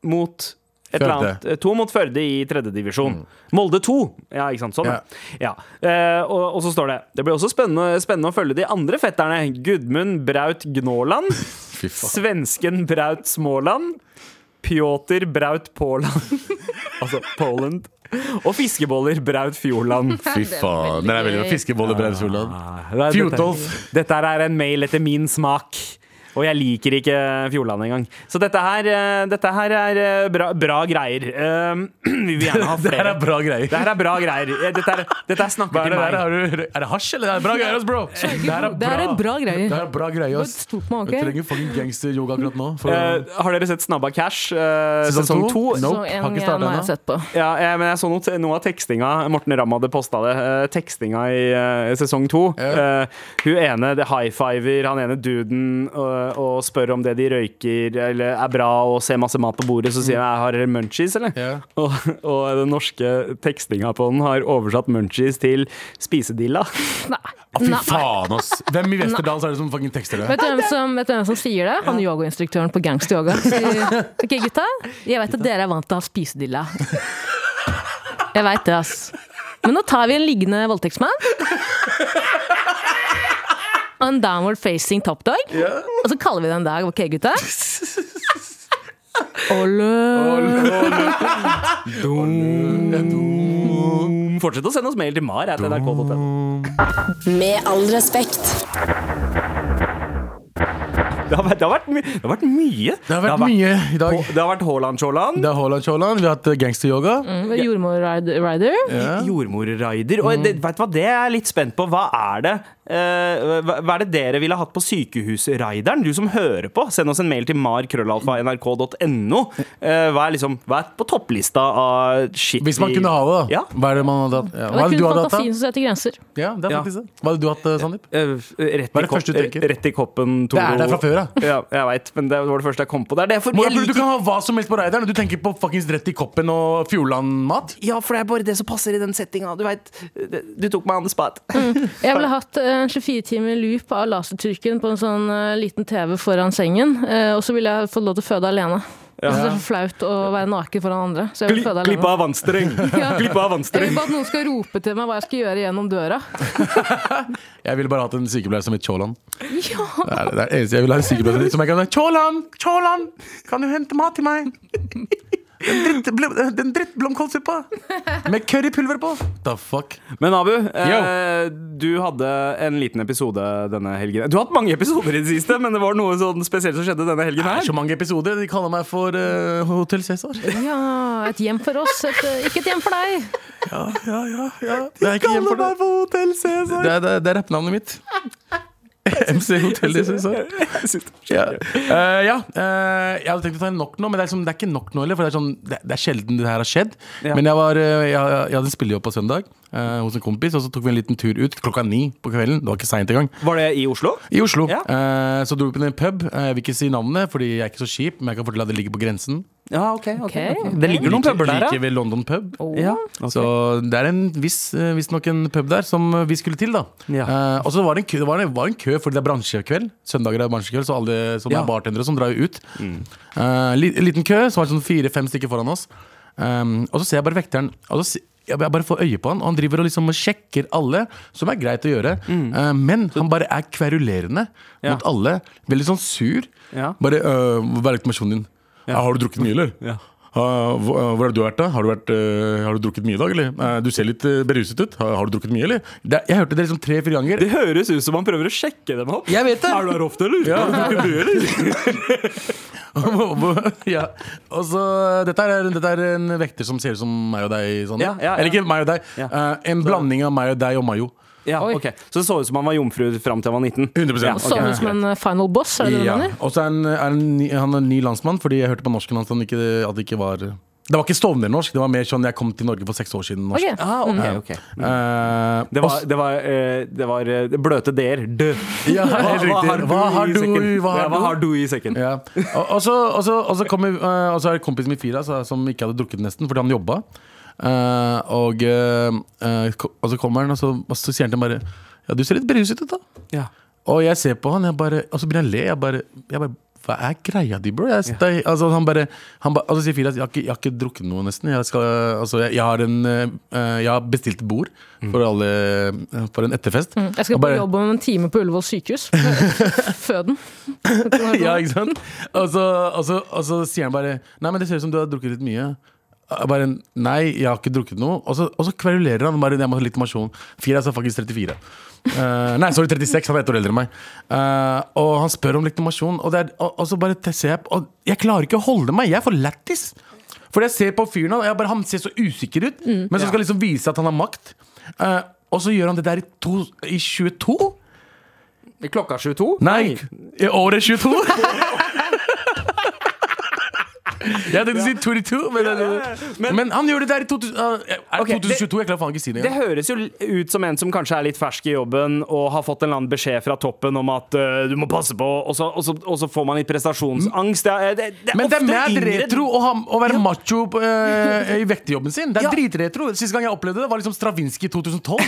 mot et eller
Førde.
annet. eh, To mot Førde i tredjedivisjon.
Mm.
Molde 2! Ja, ikke sant. Sånn, ja. ja. Eh, og, og så står det Det blir også spennende, spennende å følge de andre fetterne. Gudmund Braut
*laughs*
Gnåland. Svensken Braut Småland. Pjotr Braut Påland. *laughs* altså Poland. Og fiskeboller Braut
*laughs*
Fjordland.
Fy faen. Den er veldig bra. Fiskeboller, Brev *laughs* Solland.
Det er-
Fjotolf.
Dette, dette her er en mail etter min smak. Og jeg liker ikke Fjordland engang. Så dette her, eh, dette her er eh, bra, bra greier. Eh, *clears throat* vi vil gjerne ha
*laughs* Det her
flere.
er bra greier.
Det her er bra greier. Eh, Dette er, dette er snakker
Hva
til
er det der?
meg.
Har du, er det hasj, eller? Det er bra greier, ass, bro! Det her
Det her er bra greier.
Det her er bra greier, ass.
Godt stort med, ok?
Jeg trenger fucking gangster-yoga akkurat nå. For,
Eh, har dere sett Snabba Cash eh,
Sesong
sesong
to?
to?
Nope,
Så
har ikke startet
en igjen har
ennå.
jeg sett på.
Ja, eh, men jeg så noe, noe av tekstinga. Morten Ramm hadde posta det. eh, tekstinga i eh, sesong to. Eh, hun ene det high-fiver han ene duden og, og spør om det de røyker eller er bra og ser masse mat på bordet. Så sier han har dere munchies, eller?
Ja.
Og, og den norske tekstinga på den har oversatt munchies til spisedilla.
Nei.
ah, fy
Nei.
faen, ass! Hvem i Westerdals er det som fucking tekster det?
Vet du hvem som, vet du hvem som sier det? Han yogainstruktøren på
*laughs*
gangsteryoga. sier, Ok, gutta. Jeg vet at dere er vant til å ha spisedilla. Jeg veit det, ass. Men nå tar vi en liggende voldtektsmann. Og en downward facing top dog. Og så kaller vi det en dag. Ok,
*laughs*
gutta? Olle.
Fortsett å sende oss mail til mar. at NRK.no.
Med all respekt.
Det har vært- det har vært my- det har vært mye.
Det har vært mye i dag.
Hå- Det har vært Haaland-Tjåland.
Det er Haaland Tjåland, vi har hatt eh, gangster-yoga.
Mm. Jordmor-rider.
Jordmorrider.
Mm.
Og det, vet du hva, det er jeg litt spent på. Hva er det eh, hva, hva er det dere ville hatt på sykehusrideren? Du som hører på, send oss en mail til markrøllalfa.nrk.no. Eh, hva er liksom Hva er på topplista av shit
Hvis man
vi-
kunne ha det, da.
Ja.
Hva er det man hadde hatt? Ja. Hva
Og
er
det er
det du
kun
hadde hatt, da?
fantasien som setter grenser.
Ja, det er
Ja.
faktisk det. Hva hadde du hatt, eh, Sandeep?
Eh, rett,
Hva er
i
det
kopp,
første du tenker?
rett i koppen,
Det er der fra før, da.
Ja, jeg veit, men det var det første jeg kom på. Det er derfor jeg
Du
liker
kan ha hva som helst på rideren. Du tenker på fuckings rett i koppen og Fjordland-mat.
ja, for det er bare det som passer i den settinga. Du veit, du tok meg on the spot.
Jeg ville hatt eh, en 24 timer loop av laserturken på en sånn eh, liten TV foran sengen. eh, og så ville jeg fått lov til å føde alene. Jeg synes Det er så flaut å være naken foran andre. Så jeg vil føde
Klipp
alene.
av vannstreng!
Ja.
Klipp av
Jeg
vannstreng!
vil bare at noen skal rope til meg hva jeg skal gjøre gjennom døra.
Jeg ville bare hatt en sykepleier som het Tjåland.
Ja.
Det er det det er det eneste jeg vil ha en sykepleier som jeg kan si Tjåland, Tjåland, kan du hente mat til meg? Den dritt- bl- Den drittblomkålsuppa med currypulver på. The fuck?
Men Abu, eh, du hadde en liten episode denne helgen. Du har hatt mange episoder i det siste, men det var noe sånn spesielt som skjedde denne helgen
Det
her.
er så mange episoder. De kaller meg for uh, Hotell Cæsar.
ja, et hjem for oss, et, eh, ikke et hjem for deg.
Ja, ja, ja, ja. Det er ikke hjem for det.
for Hotell *laughs*
Det er, det er- det er rappnavnet mitt. MC Hotell, det synes jeg. Ja. Eh, ja. eh, jeg hadde tenkt å ta en nok nå, men det er, liksom, det er ikke nok nå heller. For det er, sånn, det, det er sjelden det her har skjedd.
Ja.
Men jeg, var, eh, jeg, jeg hadde en spillejobb på søndag eh, hos en kompis, og så tok vi en liten tur ut klokka ni på kvelden. Det var ikke seint engang.
Var det i Oslo?
I Oslo.
Ja.
Eh, så dro vi på en pub. Eh, jeg vil ikke si navnet, fordi jeg er ikke så kjip, men jeg kan fortelle at det ligger på grensen.
Ja, ok. ok,
Ok,
ok.
ok.
Det ligger noen
Like-
puber der,
Like ved London pub.
ja. Ok.
Så det er en viss, eh, visstnok en pub der som eh, vi skulle til, da.
Ja.
Eh, og så var det, en kø, det var, en, var en kø fordi det er bransjekveld. Søndager er bransjekveld, så alle som
Ja.
er bartendere som drar jo ut. Eh, li, liten kø, så var det sånn fire-fem stykker foran oss. Um, og så ser jeg bare vekteren. Og så, se- jeg jeg bare får øye på han, og han driver og liksom sjekker alle, som er greit å gjøre. Eh, men han bare er kverulerende
Mm. Ja.
mot alle. Veldig sånn sur.
Ja.
Bare øh, 'Hva er legitimasjonen din?' «Ja, 'Har du drukket mye, eller?'
Ja.
«Ah, hvor, ah, hvor har du vært da? Har du, vært, eh, har du drukket mye i dag, eller? Eh, du ser litt eh, beruset ut. Har, har du drukket mye, eller? Det, jeg hørte det liksom tre-fire ganger.
Det høres ut som han prøver å sjekke dem opp.
Jeg vet det.
Er du her ofte, eller?
Ja. Har du drukket mye, eller?
*laughs*
Hvor- hvor- ja. Og så, dette er, dette er en vekter som ser ut som meg og deg. Sånn.
Ja, ja, ja.
Eller ikke meg og deg.
Ja.
Eh, en blanding av meg og deg og Mayo.
Ja,
Oi.
ok. Så det så ut som han var jomfru fram til han var 19.
100
Ja,
Sånn
ok.
som en eh, final boss, er det det du
Ja.
mener?
Og så er, han- er han ny- han er en ny landsmann, fordi jeg hørte på norsken hans at han ikke- at det ikke var Det var ikke stovnernorsk, det var mer sånn jeg kom til Norge for seks år siden. norsk
Ok.
Ah, ok, ok.
Eh,
Det var, det var, eh, det var eh, bløte d-er. Dø.
Ja,
Hva, hva
helt riktig.
har du
Hva har
i
du-
sekken?
hva har
ja, hva
du?
har du i sekken?
Ja. Og, og, så, og, så, og, så kommer, eh, og så er det kompisen min Firas eh, som ikke hadde drukket nesten fordi han jobba. Eh, og, eh, eh, ko- og så kommer han, og så, og så sier han til meg bare Ja, du ser litt beruset ut, da.
Ja.
Og jeg ser på han, jeg bare, og så begynner jeg å le. Jeg bare, jeg bare Hva er greia di, bro? Jeg, det- altså, han bare, han ba, og så sier Firas jeg, har ikke- jeg har ikke drukket noe, nesten. Jeg, skal, altså, jeg, jeg, har, en, eh, eh, jeg har bestilt bord for, alle, eh, for en etterfest.
Mm, Jeg skal
Og
på
bare-
jobb om en time på Ullevål sykehus.
*laughs*
Føden.
ja, ikke sant? Og så, og, så, og så sier han bare Nei, men det ser ut som du har drukket litt mye. Jeg bare Nei, jeg har ikke drukket noe. Og så, og så kverulerer han. bare, Jeg må ha litt informasjon. Fire er så faktisk 34. Eh, nei, sorry, 36. Han er ett år eldre enn meg. Eh, og han spør om legitimasjon, og, det er, og, og så bare te- ser jeg på og Jeg klarer ikke å holde meg. Jeg er for lættis. For jeg ser på fyren og jeg bare, han ser så usikker ut, men så skal liksom vise at han har makt. Eh, og så gjør han det der i, to, i 22?
Klokka 22?
Nei, i året
*laughs*
22 Jeg tenkte å si 22 men, men,
Men-
han gjør det der i 2000, uh, er det
Ok, det-
2022 Jeg klarer faen ikke å si det
Det
engang
høres jo ut som en som kanskje er litt fersk i jobben og har fått en eller annen beskjed fra toppen om at eh, du må passe på, og så, og så, og så får man litt prestasjonsangst. Det er, det, det er
men det er
ofte
mer
yngre-
retro å, ha, å være macho på, eh, i vektejobben sin Det er
Ja.
dritretro Siste gang jeg opplevde det var liksom Stravinsky i 2012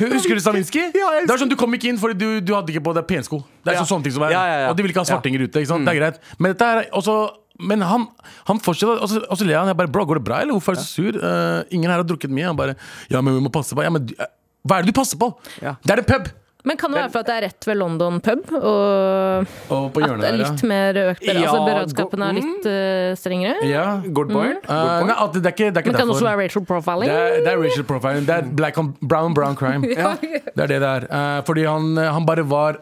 Husker du Stravinsky?
Ja, jeg
det var sånn du kom ikke inn fordi du, du hadde ikke på deg pensko Det er
Ja.
sånn sånne ting som er
Ja, ja, ja. Mm.
Og de vil ikke ha svartinger ute, ikke sant? Det er greit Men, dette er også, men han, han fortsetter og så, og så ler han, jeg bare Bro, går det bra, eller hvorfor er du sur? Eh, ingen her har drukket mye Han bare, ja, men vi må passe på ja, men, du- eh, Hva er det du passer på?
Ja.
Det er en pub
Men kan det være for at det er rett ved London pub, og
Og på
at det
hjørnet
er
der,
litt mer økt der? Altså
Ja, mm.
beredskapen er litt eh, strengere?
ja Ja
Good point.
Eh,
Good
nei,
point.
at det, det er ikke, det er ikke
Men kan det
derfor
også være racial profiling?
Det er,
*laughs*
det er racial profiling. Det er black on brown, brown
*laughs*
crime. Det er det det er. Eh, fordi han, han bare var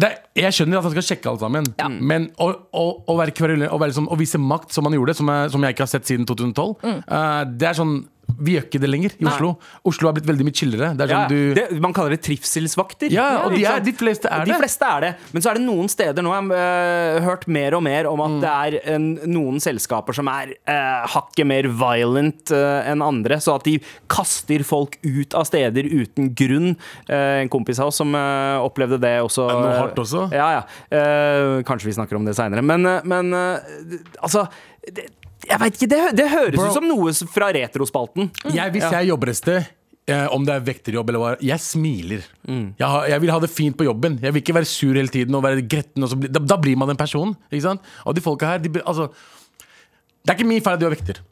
det er, jeg skjønner at han skal sjekke alt sammen, Mm. men å, å, å, være kverul, å, være liksom, å vise makt som han gjorde, som jeg, som jeg ikke har sett siden 2012,
Mm.
eh, det er sånn Vi gjør ikke det lenger i Oslo. Oslo har blitt veldig mye chillere. Det er
Ja,
sånn du
det, man kaller det trivselsvakter.
Ja, og de,
Ikke
er,
sant?
de fleste er
de
det.
fleste er det, men så er det noen steder nå Jeg har øh, hørt mer og mer om at
Mm.
det er en, noen selskaper som er øh, hakket mer violent øh, enn andre. Så at de kaster folk ut av steder uten grunn. Eh, en kompis av oss som øh, opplevde det også.
Er det noe hardt også?
Ja, ja. Eh, kanskje vi snakker om det seinere. Men, øh, men øh, altså det, Jeg veit ikke. Det, hø- det høres
Bro.
ut som noe s- fra retrospalten.
Jeg, hvis jeg jobber et sted eh, om det er vekterjobb eller hva Jeg smiler.
Mm.
Jeg, har, jeg vil ha det fint på jobben. Jeg vil ikke være sur hele tiden og være gretten. Og så, bli- da, da blir man den personen. Ikke sant? Og de folka her de, blir- altså, Det er ikke min feil at du er vekter.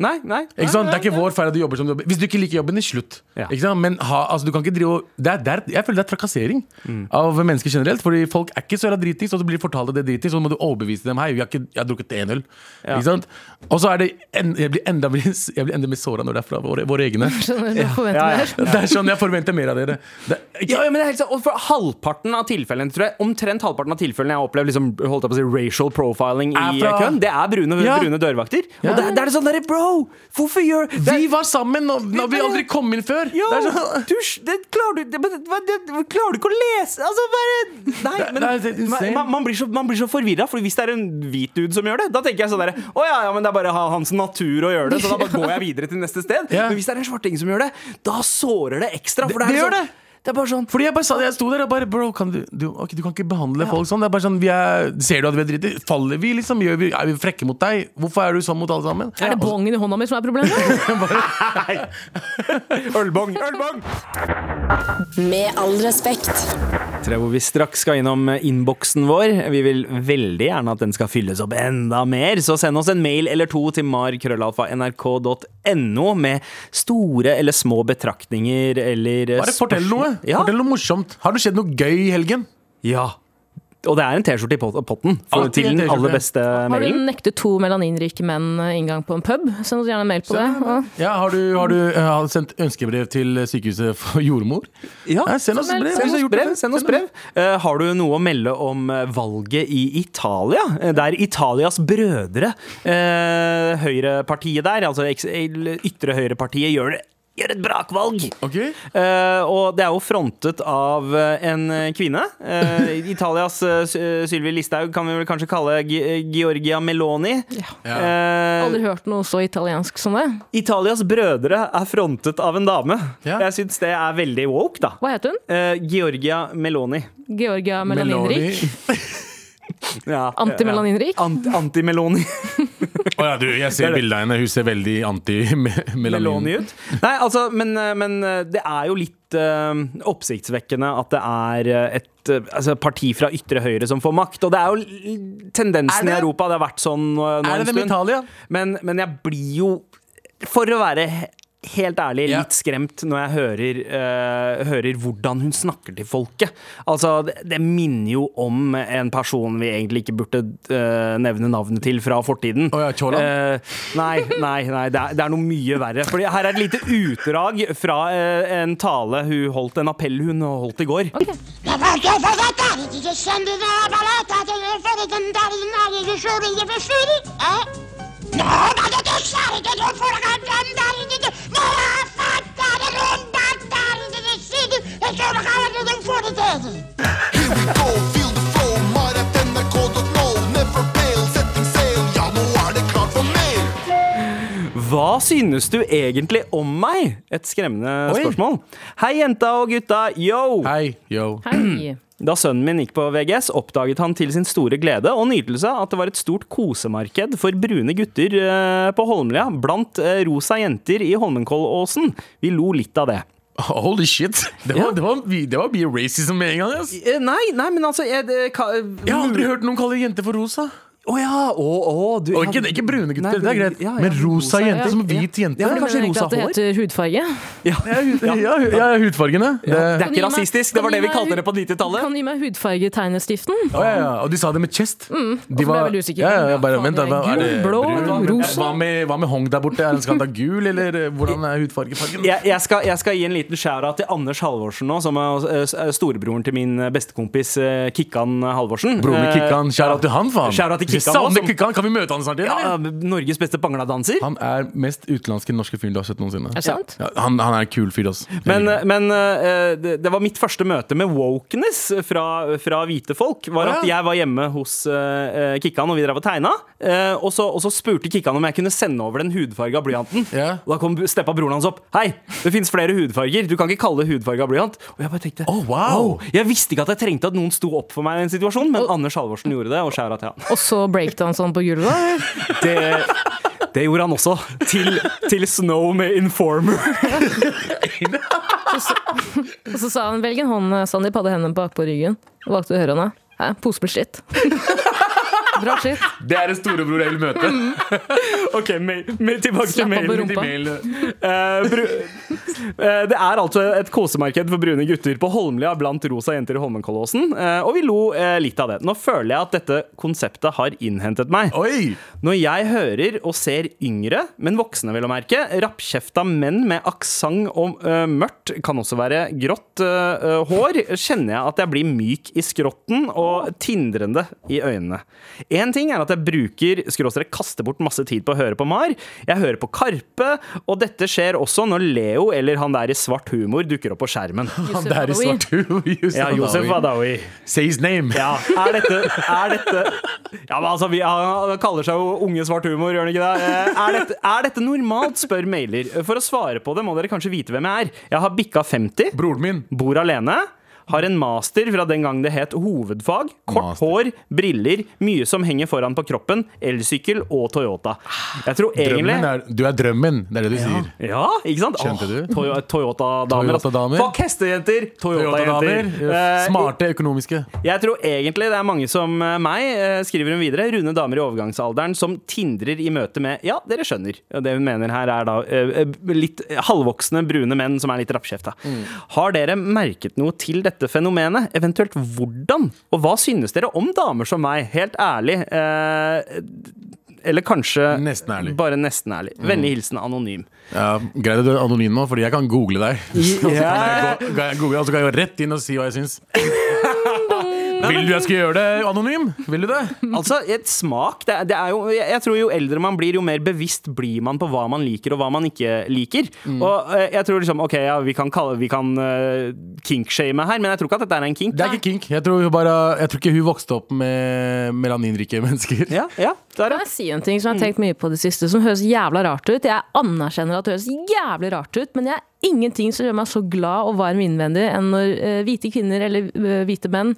Nei, nei. nei,
Ikke sant?
nei,
Det er ikke
nei.
vår feil at du jobber som du jobber. Hvis du ikke liker jobben din, slutt.
Ja.
Ikke sant? Men ha, altså, du kan ikke drive og det er, det er, Jeg føler det er trakassering
Mm.
av mennesker generelt. Fordi folk er ikke så jævla dritings, og så blir de fortalt at det er dritings, og så må du overbevise dem. Hei, vi har ikke, jeg har drukket én øl. Ikke sant? Og så er det en, jeg, blir enda, mer- *laughs* jeg blir enda mer såra når det er fra våre, våre egne.
*laughs*
Skjønner du, du forventer
Ja, ja.
mer.
Det er sånn jeg forventer mer av dere. Det, ikke,
Ja, ja, men det er helt sant. Og for halvparten av tilfellene, tror jeg, omtrent halvparten av tilfellene jeg har opplevd liksom, holdt jeg på å si, racial profiling i
Er fra-
køen, det er brune,
Ja.
brune dørvakter. Og det,
Ja.
er- det er det sånn derre Bro, Yo! Hvorfor gjør det
Vi var sammen når, når vi aldri kom inn før!
Yo!
Det er sånn-
Du, det, klarer, du, det, men det, det, klarer du ikke å lese? Altså, bare Nei,
Det-
men
det er helt insane.
man, man- man blir så, man blir så forvirra, for hvis det er en hvit dude som gjør det, da tenker jeg sånn derre Å ja, ja, men det er bare ha- hans natur å gjøre det, så da bare går jeg videre til neste sted.
Ja.
Men hvis det er en svarting som gjør det, da sårer det ekstra. For det,
Det- det
er
gjør
sånn,
det.
Det er bare sånn
Fordi jeg bare sa det, jeg sto der og bare Bro, kan du, du, ok, du kan ikke behandle folk sånn. Det er bare sånn, vi er, Ser du at vi er dritter? Faller vi, liksom? Gjør vi, er vi frekke mot deg? Hvorfor er du sånn mot alle sammen?
Er det bongen i hånda mi som er
*laughs*
problemet?
Ølbong! Ølbong!
Med all respekt.
tre hvor vi straks skal innom eh, innboksen vår. Vi vil veldig gjerne at den skal fylles opp enda mer, så send oss en mail eller to til markrøllalfa.nrk.no med store eller små betraktninger eller eh,
Bare fortell
spørsmål.
noe.
Ja.
Fortell noe morsomt. Har det skjedd noe gøy i helgen?
ja. Og det er en T-skjorte i pot- potten for,
Alltid
til
en
den
T-skjorte.
aller beste
Har du
mailen.
nektet to melaninrike menn eh, inngang på en pub? Send oss gjerne en mail på det. Og
Ja, Har du, har du eh, har du sendt ønskebrev til sykehuset for jordmor?
Ja.
Nei, send oss
Send
brev.
oss
Send
hvis du har
oss
gjort det
brev.
før.
Send oss brev. Eh, har du noe å melde om eh, valget i Italia? Eh, Der Italias brødre, eh, høyrepartiet der, altså eks- eller ytre høyrepartiet, gjør, det- gjør et brakvalg.
Ok.
Eh, og det er jo frontet av eh, en eh, kvinne. Eh, Italias eh, Sy- eh, Sylvi Listhaug kan vi vel kanskje kalle Gi- eh, Giorgia Meloni. Eh,
Aldri hørt noe så italiensk som det.
Italias brødre er frontet av en dame.
Ja.
Jeg syns det er veldig woke, da.
Hva het hun?
Eh, Georgia Meloni.
Georgia
Meloni.
Melaninrik?
Ja,
Antimelaninrik?
ja. Ant Antimeloni
Å ja, du, jeg ser bildet av henne. Hun ser veldig
Meloni
anti-melanin
ut. Nei, altså, men, men det er jo litt eh, oppsiktsvekkende at det er eh, et eh, altså, parti fra ytre høyre som får makt. Og det er jo l-
Er
tendensen
det?
i Europa. Det har vært sånn eh, nå
Er det det med
en stund.
Italia?
Men, men jeg blir jo, for å være he- helt ærlig,
Ja.
litt skremt når jeg hører, eh, hører hvordan hun snakker til folket. Altså, det, det minner jo om en person vi egentlig ikke burde eh, nevne navnet til fra fortiden.
Å ja, Tjolan?
Eh, nei, nei, nei det, er, det er noe mye verre. Fordi her er et lite utdrag fra eh, en tale hun holdt, en appell hun holdt i går.
Perché facettari ti scendi dalla paletta, te ne fai tentare i nari, i sciuri, i pesciuri, eh? No, ma che tu sai che non fuori a cantare, ti non la fatta, non battare, ti decidi, e sono calato del fuori tesi.
Here we go, feel the flow, mar at nrk.no. Never fail, setting sail, ja nå er det klart for mer.
Hva synes du egentlig om meg? Et skremmende
Oi.
spørsmål. Hei, jenta og gutta. Yo!
Hei, yo.
*clears throat*
Hei.
Da sønnen min gikk på VGS, oppdaget han til sin store glede og nytelse at det var et stort kosemarked for brune gutter eh, på Holmlia blant eh, rosa jenter i Holmenkollåsen. Vi lo litt av det.
Holy shit. Det var,
Ja.
det var, det var mye racism med en gang. Ass.
Eh, Nei, nei, men altså Jeg, det, ka,
Jeg har aldri hørt noen kalle jenter for rosa.
Å ja! Å, å, du,
Og ikke, ikke brune gutter, det er greit.
ja, ja,
men rosa jenter
ja.
som hvit jente.
Ja, men kanskje
Mener ikke
rosa
at det
hår?
heter hudfarge?
Ja.
Ja, ja, ja, hudfargene. Det,
Det er
Kan du gi
ikke
meg-
rasistisk, det
kan
var
du
det
gi
vi
meg
kalte det på
Kan
90-tallet.
du gi meg hudfargetegnestiften?
Å, ja, ja. Og de sa det med chest. De
jeg Mm. ble veldig usikker.
Ja, ja, jeg bare,
Faen,
vent, da, hva,
det er
er det
gul, blå,
brun?
rosa?
Hva med, hva med Hong der borte? Er den skada gul, eller eh, hvordan er hudfargefargen?
Jeg, jeg, skal, jeg skal gi en liten skjæra til Anders Halvorsen nå, som er eh, s- eh, storebroren til min eh, bestekompis eh, Kikkan Halvorsen.
Broren min Kikkan, kjære til han, faen.
Eh, Shout out til
Jeg
Kikkan også,
savner
som-
Kikkan, kan vi møte han snart? igjen, eller?
Ja, Norges beste bangladanser.
Han er mest utenlandske norske fyren du har sett noensinne.
Er det sant?
Ja, han, han er en kul fyr, altså.
Men, men eh, det, det var mitt første møte med wokeness fra, fra hvite folk. Var
Å,
at
ja.
jeg var hjemme hos eh, eh, Kikkan, og vi drev og tegna. eh, og, så, og så spurte Kikkan om jeg kunne sende over den hudfarga blyanten.
Ja.
Og da kom steppa broren hans opp. Hei, det fins flere hudfarger. Du kan ikke kalle det hudfarga blyant. Og jeg bare tenkte
Å, wow.
Jeg visste ikke at jeg trengte at noen sto opp for meg i en situasjon, men Anders Halvorsen gjorde det, og skjæra til han.
Og så breakdansene på gulvet? eller?
Det, det gjorde han også. Til, til Snow med Informer.
Og så *laughs* sa han 'velg en hånd, eh, Sandeep', hadde hendene bakpå ryggen. Og valgte å høre henne. Hæ, pose med
*laughs*
skitt. Bra skitt.
det er en storebror jeg vil møte.
*laughs* OK, mail, mail, tilbake til
Slapp av på
mailen.
rumpa.
Eh, bru Eh, det er altså et kosemarked for brune gutter på Holmlia blant rosa jenter i Holmenkollåsen, eh, og vi lo eh, litt av det. Nå føler jeg at dette konseptet har innhentet meg.
Oi!
Når jeg hører og ser yngre, men voksne vel å merke, rappkjefta menn med aksent og eh, mørkt, kan også være grått eh, eh, hår, kjenner jeg at jeg blir myk i skrotten og tindrende i øynene. Én ting er at jeg bruker skråstrek kaster bort masse tid på å høre på Mar. Jeg hører på Karpe, og dette skjer også når Leo eller han der i svart humor dukker opp på skjermen.
Han der i svart hue. *laughs* Yusuf
Ja, Josef
Hadaoui.
Adawi.
Say his name.
Ja, er dette, er dette Ja, men altså, vi, Han kaller seg jo Unge svart humor, gjør han ikke det? Eh, Er dette, er dette normalt, spør mailer. For å svare på det må dere kanskje vite hvem jeg er. Jeg har bikka 50.
Broren min.
Bor alene. Har en master fra den gang det het hovedfag. Kort
Master.
hår, briller, mye som henger foran på kroppen, elsykkel og Toyota. Jeg tror egentlig
Drømmen er, du er drømmen, det er det du sier.
ja, ikke sant?
Skjønte
Åh,
du?
Toyo- Toyota-damer. altså.
Toyota-damer.
Fuck hestejenter! Toyota-jenter.
Toyota-damer.
Eh,
Smarte, økonomiske.
jeg tror egentlig det er mange som eh, meg, eh, skriver hun videre, runde damer i overgangsalderen som tindrer i møte med Ja, dere skjønner. Det hun mener her er da eh, eh, litt halvvoksne brune menn som er litt rappkjefta.
Mm.
Har dere merket noe til dette fenomenet? Eventuelt hvordan? Og hva synes dere om damer som meg? Helt ærlig. eh, eller kanskje
Nesten ærlig. Mm.
bare nesten ærlig. Vennlig hilsen anonym.
Ja, Greit at du er anonym nå, Fordi jeg kan google deg. *laughs* Så kan jeg gå- kan jeg google, og så kan jeg gå rett inn og si hva jeg
*laughs*
syns. Vil du jeg skal gjøre det anonym? Vil du det?
Altså, et smak det er, det er jo, jeg, jeg tror jo eldre man blir, jo mer bevisst blir man på hva man liker og hva man ikke liker.
Mm.
Og eh, jeg tror liksom, ok, ja, vi kan, kalle, vi kan eh, kinkshame her, men jeg tror ikke at dette er en kink.
Det er ikke kink. Jeg tror, hun bare, jeg tror ikke hun vokste opp med melaninrike *laughs* mennesker.
Ja, ja, der,
Kan
ja.
jeg si en ting som jeg har tenkt mye på det siste, som høres jævla rart ut? Jeg anerkjenner at det høres jævlig rart ut, men jeg er ingenting som gjør meg så glad og varm innvendig enn når eh, hvite kvinner eller eh, hvite menn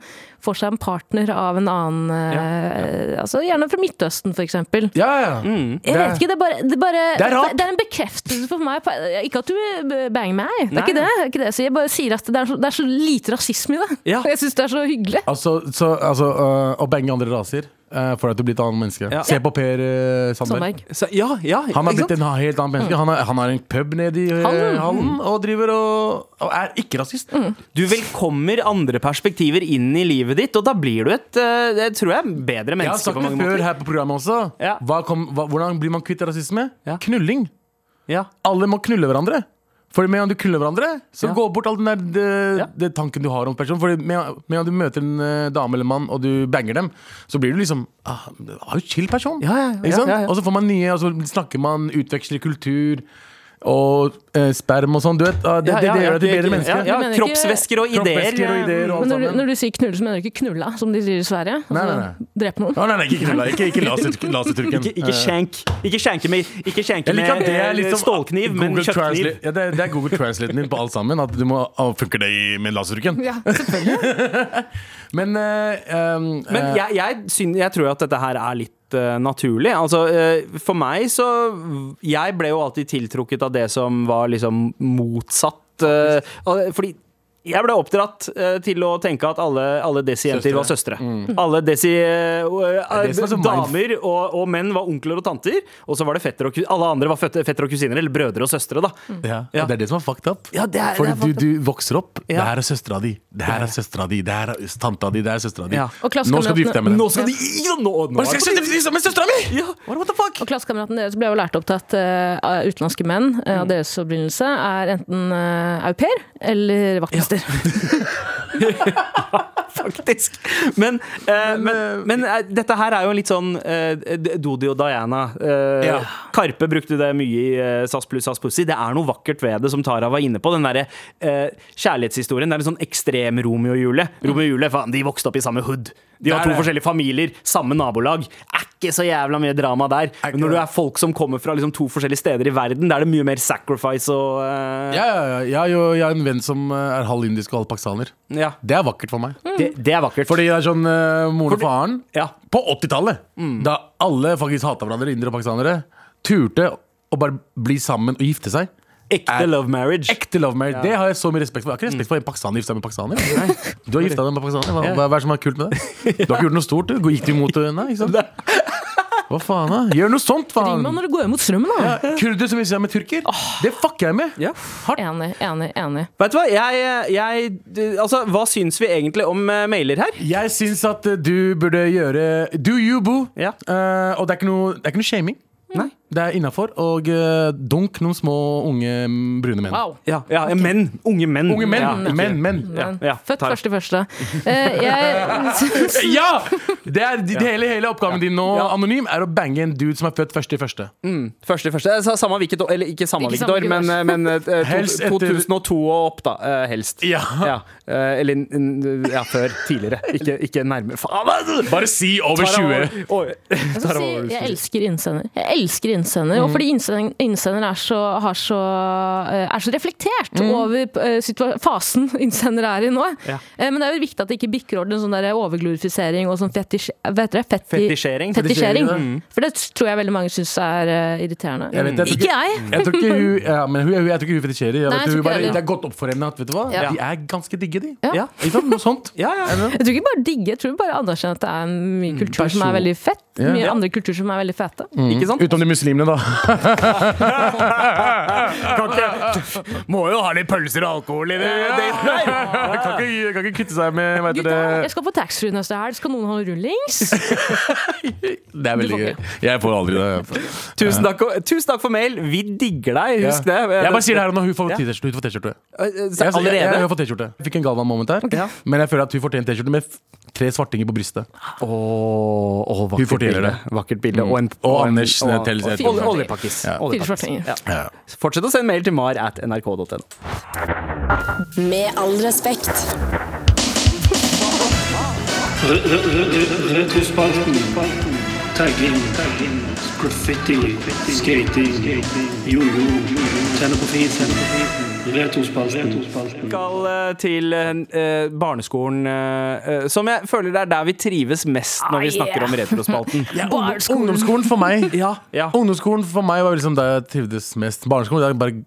får seg en partner av en annen eh, Altså gjerne fra Midtøsten, for eksempel.
Ja, ja.
Mm.
Jeg vet ikke, det er bare Det er, bare,
Det er rart.
det er en bekreftelse for meg. på- Ikke at du eh, banger meg,
Nei.
det er ikke det. det, er ikke det. Så jeg bare sier at det er så, det er så lite rasisme i det.
Ja.
Jeg syns det er så hyggelig.
Altså, så, altså øh, å bange andre raser øh, får deg til å bli et annet menneske.
Ja.
Se på Per øh, Sandberg.
Sandberg.
Så, ja, ja,
Han er
ikke
blitt
sant? Mm.
en helt annen menneske. Han, er, han har en pub nede i øh,
Hallen.
hallen og driver og, og er ikke rasist.
Du velkommer andre perspektiver inn i livet ditt, og da blir du et, eh, det tror jeg, bedre
Jeg har
menneske
sagt
på
det
mange
før
måter.
her på programmet også.
Ja.
Hva kom, hva, hvordan blir man kvitt rasisme?
Ja.
Knulling.
Ja.
Alle må knulle hverandre. For med en gang du knuller hverandre, så
Ja.
gå bort all den der det,
Ja.
det tanken du har om personen. For med en med en gang du møter en eh, dame eller mann, og du banger dem, så blir du liksom ah, det var jo chill person.
Ja, ja, ja,
Ikke sant?
ja, ja.
Og så får man nye, og så snakker man, utveksler kultur og eh, sperm og sånn. Du vet, ah, det,
Ja,
det,
ja, ja,
det gjør deg til
det-
bedre
ja,
menneske.
Ja,
Du mener ikke-
kroppsvæsker og ideer.
Kroppsvæsker og
eh,
ideer og
Men
alt
når du,
sammen.
når du sier knulle, så mener du ikke knulla, som de sier i Sverige?
Nei,
Altså,
nei, nei.
Drepe noen?
Å, nei, nei, ikke knulla. Ikke, ikke laser- laserturken.
Ikke, ikke skjenk. Ikke skjenke med, ikke skjenke
Jeg liker at
med
det er
eh,
liksom
stålkniv, men
Google
kjøttkniv.
Translate- Ja, det, er, det er Google translaten din på alt sammen. At du må å, Funker det i- med laserdukken?
Ja, selvfølgelig.
Men eh, um,
Men
eh,
jeg, jeg, syn- jeg tror at dette her er litt eh, naturlig. Altså, eh, for meg så Jeg ble jo alltid tiltrukket av det som var liksom motsatt. eh, al- fordi jeg ble oppdratt eh, til å tenke at alle, alle desi-jenter var søstre. Alle desi eh, eh,
det som Mm. er så
damer og, og menn var onkler og tanter. Og så var det fetter og ku- alle andre var føtte- fettere og kusiner, eller brødre og søstre, da.
ja,
ja.
Det er det som er fucked up.
Ja, det er-
Mm. Fordi
det er fucked
du, du vokser opp.
Ja.
Det her er søstera di. Det her er søstera di. Det her er tanta di. Det her er søstera di.
Ja.
Og
Nå skal du gifte deg med
Nå
den.
skal de ja, nå, nå
Hva skal jeg skjønne liksom, med søstera mi?!
Ja.
What the fuck?
Og klassekameraten deres ble jo lært opp til at eh, utenlandske menn eh, av deres opprinnelse er enten eh, au pair eller vaktmester.
*laughs* faktisk. Men, eh, men, men eh, dette her er jo litt sånn eh, D- Dodi og Diana. Eh,
Ja.
Karpe brukte det mye i eh, SAS pluss SAS Pussy. Det er noe vakkert ved det, som Tara var inne på. Den derre eh, kjærlighetshistorien. Det er en sånn ekstrem Romeo og Julie. Romeo og Julie, faen, de vokste opp i samme hood. De har
Mm. Det er
to
det.
forskjellige familier, samme nabolag. Er ikke så jævla mye drama der.
Er ikke
Men når du
det.
er folk som kommer fra liksom, to forskjellige steder i verden, da er det mye mer sacrifice og eh,
Ja, ja, ja. Jeg har jo- Jeg har en venn som eh, er halv indisk og halv pakistaner.
ja.
Det er vakkert for meg. Mm.
Det, det er vakkert.
Fordi det er sånn eh, moren og faren
Ja.
På 80-tallet, da alle faktisk hata hverandre, indere og pakistanere, turte å bare bli sammen og gifte seg.
ekte
er-
love marriage.
Ekte love marriage. Det har jeg så mye respekt for. Jeg har ikke respekt for en pakistaner gifte seg med en pakistaner. Du har gifta deg med en pakistaner. Hva, hva, hva er det som er kult med det? Du har ikke gjort noe stort, du. Gikk du imot det? Nei, ikke sant? Hva faen, da? Gjør noe sånt,
Ring
faen!
meg når du går imot strømmen, da!
Ja, Kurder som gifter seg med turker, det fucker jeg med.
Ja.
Hardt.
Enig, enig, enig.
Vet du hva, jeg, jeg du- Altså, hva syns vi egentlig om eh, mailer her?
Jeg syns at eh, du burde gjøre Do you, boo.
Ja.
Eh, og det er ikke noe, det er ikke noe shaming.
Nei.
Det er innafor. Og eh, dunk noen små unge mm, brune menn.
Wow.
Ja, ja, menn. Unge menn.
Unge menn!
Ja, ikke-
menn, menn.
Ja, ja,
Født
tar-
første første. Eh, jeg
*laughs* Ja! Det er det hele, hele oppgaven din nå, anonym, er å bange en dude som er født først i første.
Første, første. Eh, sa- Samme hvilket år, eller ikke samme
Ikke
hvilket
samme
år, men, eh, men eh, to-
Helst etter-
2002 og opp, da. eh, Helst.
Ja.
Eh, Eller mm, ja, før. Tidligere. Ikke, ikke nærme. Faen! altså!
Bare si over
Tar han
20.
over- over-
Jeg,
tar
skal
han
si,
over-
jeg elsker innsender. Jeg elsker innsender,
Mm.
Og fordi innsender, innsender er, så, har så, eh, er så reflektert
Mm.
over eh, situa- fasen *laughs* innsender er i nå.
Ja.
Eh, Men det er jo viktig at det ikke bikker over til en sånn der overglorifisering og sånn fetisj, hva heter det? Feti-
Fetisjering.
fetisjering.
Fetisjering,
For det tror jeg veldig mange syns er eh, irriterende.
Mm. Jeg vet, jeg tror
Ikke jeg!
Jeg tror ikke hun, ja, men hun, hun, jeg tror ikke hun fetisjerer. Jeg vet,
Nei, jeg tror
hun
ikke
bare,
heller.
det er godt opp for henne at vet du hva?
Ja.
de er ganske digge, de.
Ja.
Ikke sant? Noe sånt.
Ja, ja.
Jeg tror ikke bare digge, jeg tror bare anerkjenne at det er mye kultur som
Mm. person-
er veldig fett.
Ja. Mm.
Mye
Ja.
andre kulturer som er veldig fete.
Ikke sant?
Utenom de muslimene, *laughs* da.
Kan ikke Må jo ha litt pølser og alkohol i det. det- Nei.
Kan ikke, kan ikke kvitte seg med hva heter
Gutta,
det?
jeg skal på taxfree neste helg. Skal noen ha rullings?
*laughs* Det er veldig
Du får
gøy. Jeg får aldri det.
Tusen takk, og- tusen takk for mail. Vi digger deg, husk det. Eh,
Jeg bare sier det her og nå. Hun får T-skjorte. Hun får T-skjorte.
eh, eh, så
Jeg- Jeg, jeg,
Allerede?
hun får T-skjorte. Jeg Fikk en Galvan-moment her.
Ja.
Men jeg føler at hun fortjener T-skjorte med f- tre svartinger på brystet.
Åh, åh, vakkert
Hun fortjener
bilde.
det. Mm.
Vakkert bilde. Og, en,
Og Anders,
og-
det
og-
telles-
og-
jeg tror det.
Oljepakkis.
Ja.
Fire
Oljepakkis.
svartinger.
Ja. Fortsett å sende mail til mar at nrk.no.
Med all respekt.
Retrospalten. Tagging. Graffiti. Skating. Jojo. Tenne på fisen. Retrospalten.
skal eh, til eh, barneskolen, eh, eh, som jeg føler det er der vi trives mest når vi
Ah,
snakker
yeah.
om retrospalten.
*laughs*
Ja, ungdom- Ungdomsskolen for *laughs* meg
Ja, ja.
Ungdomsskolen for meg var liksom der jeg trivdes mest. Barneskolen der jeg bare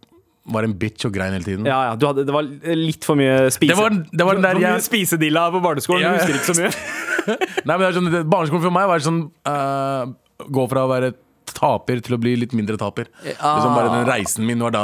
var en bitch og grein hele tiden.
Ja, ja, du hadde, det var litt for mye spise...
Det var- det var den der
for mye
jeg-
spisedilla på barneskolen,
Ja,
du
ja.
husker ikke så mye.
*laughs* Nei, men det er sånn, det- Barneskolen for meg var sånn eh, Gå fra å være taper til å bli litt mindre taper. Liksom bare den Reisen min var da.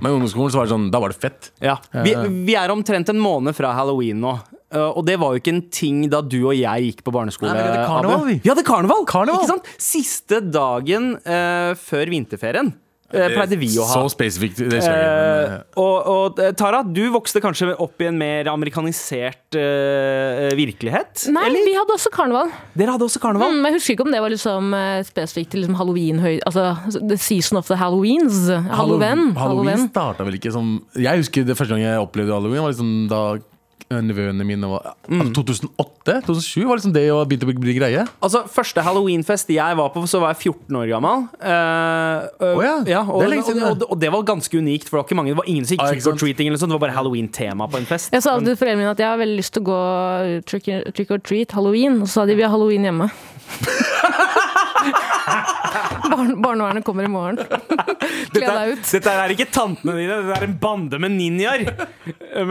Men i ungdomsskolen så var det sånn, da var det fett.
Ja. Vi, vi er omtrent en måned fra halloween nå. eh, og det var jo ikke en ting da du og jeg gikk på barneskole.
Nei, men vi hadde karneval,
Abu.
vi.
Vi hadde karneval!
Karneval.
Ikke sant? Siste dagen eh, før vinterferien eh, pleide vi å ha.
Så spesifikt. Det skjer
Eh,
ikke, men,
og, og eh, Tara, du vokste kanskje opp i en mer amerikanisert eh, virkelighet?
Nei, vi hadde også karneval.
Dere hadde også karneval?
Mm, men jeg husker ikke om det var liksom eh, spesifikt til liksom halloweenhøy... Altså the season of the halloweens. Halloween.
Hallo- Halloween starta vel ikke som Jeg husker det første gang jeg opplevde halloween, var liksom da eh, nevøene mine var altså 2008-2007 var liksom det å begynte å bli, bli greie.
Altså, Første halloweenfest jeg var på, så var jeg 14 år gammel. Eh, eh,
Å ja,
og,
det er lenge siden,
og, og, og det var ganske unikt, for det var ikke mange Det var ingen som gikk
Ah, ikke
trick or treating. eller noe sånt, Det var bare halloween-tema på en fest.
Jeg sa alltid til foreldrene mine at jeg har veldig lyst til å gå uh, trick, trick or treat halloween, og så sa de vi har halloween hjemme. Barn, barnevernet kommer i morgen. Kle
Dette
deg
er,
ut.
dette er ikke tantene dine, det er en bande med ninjaer.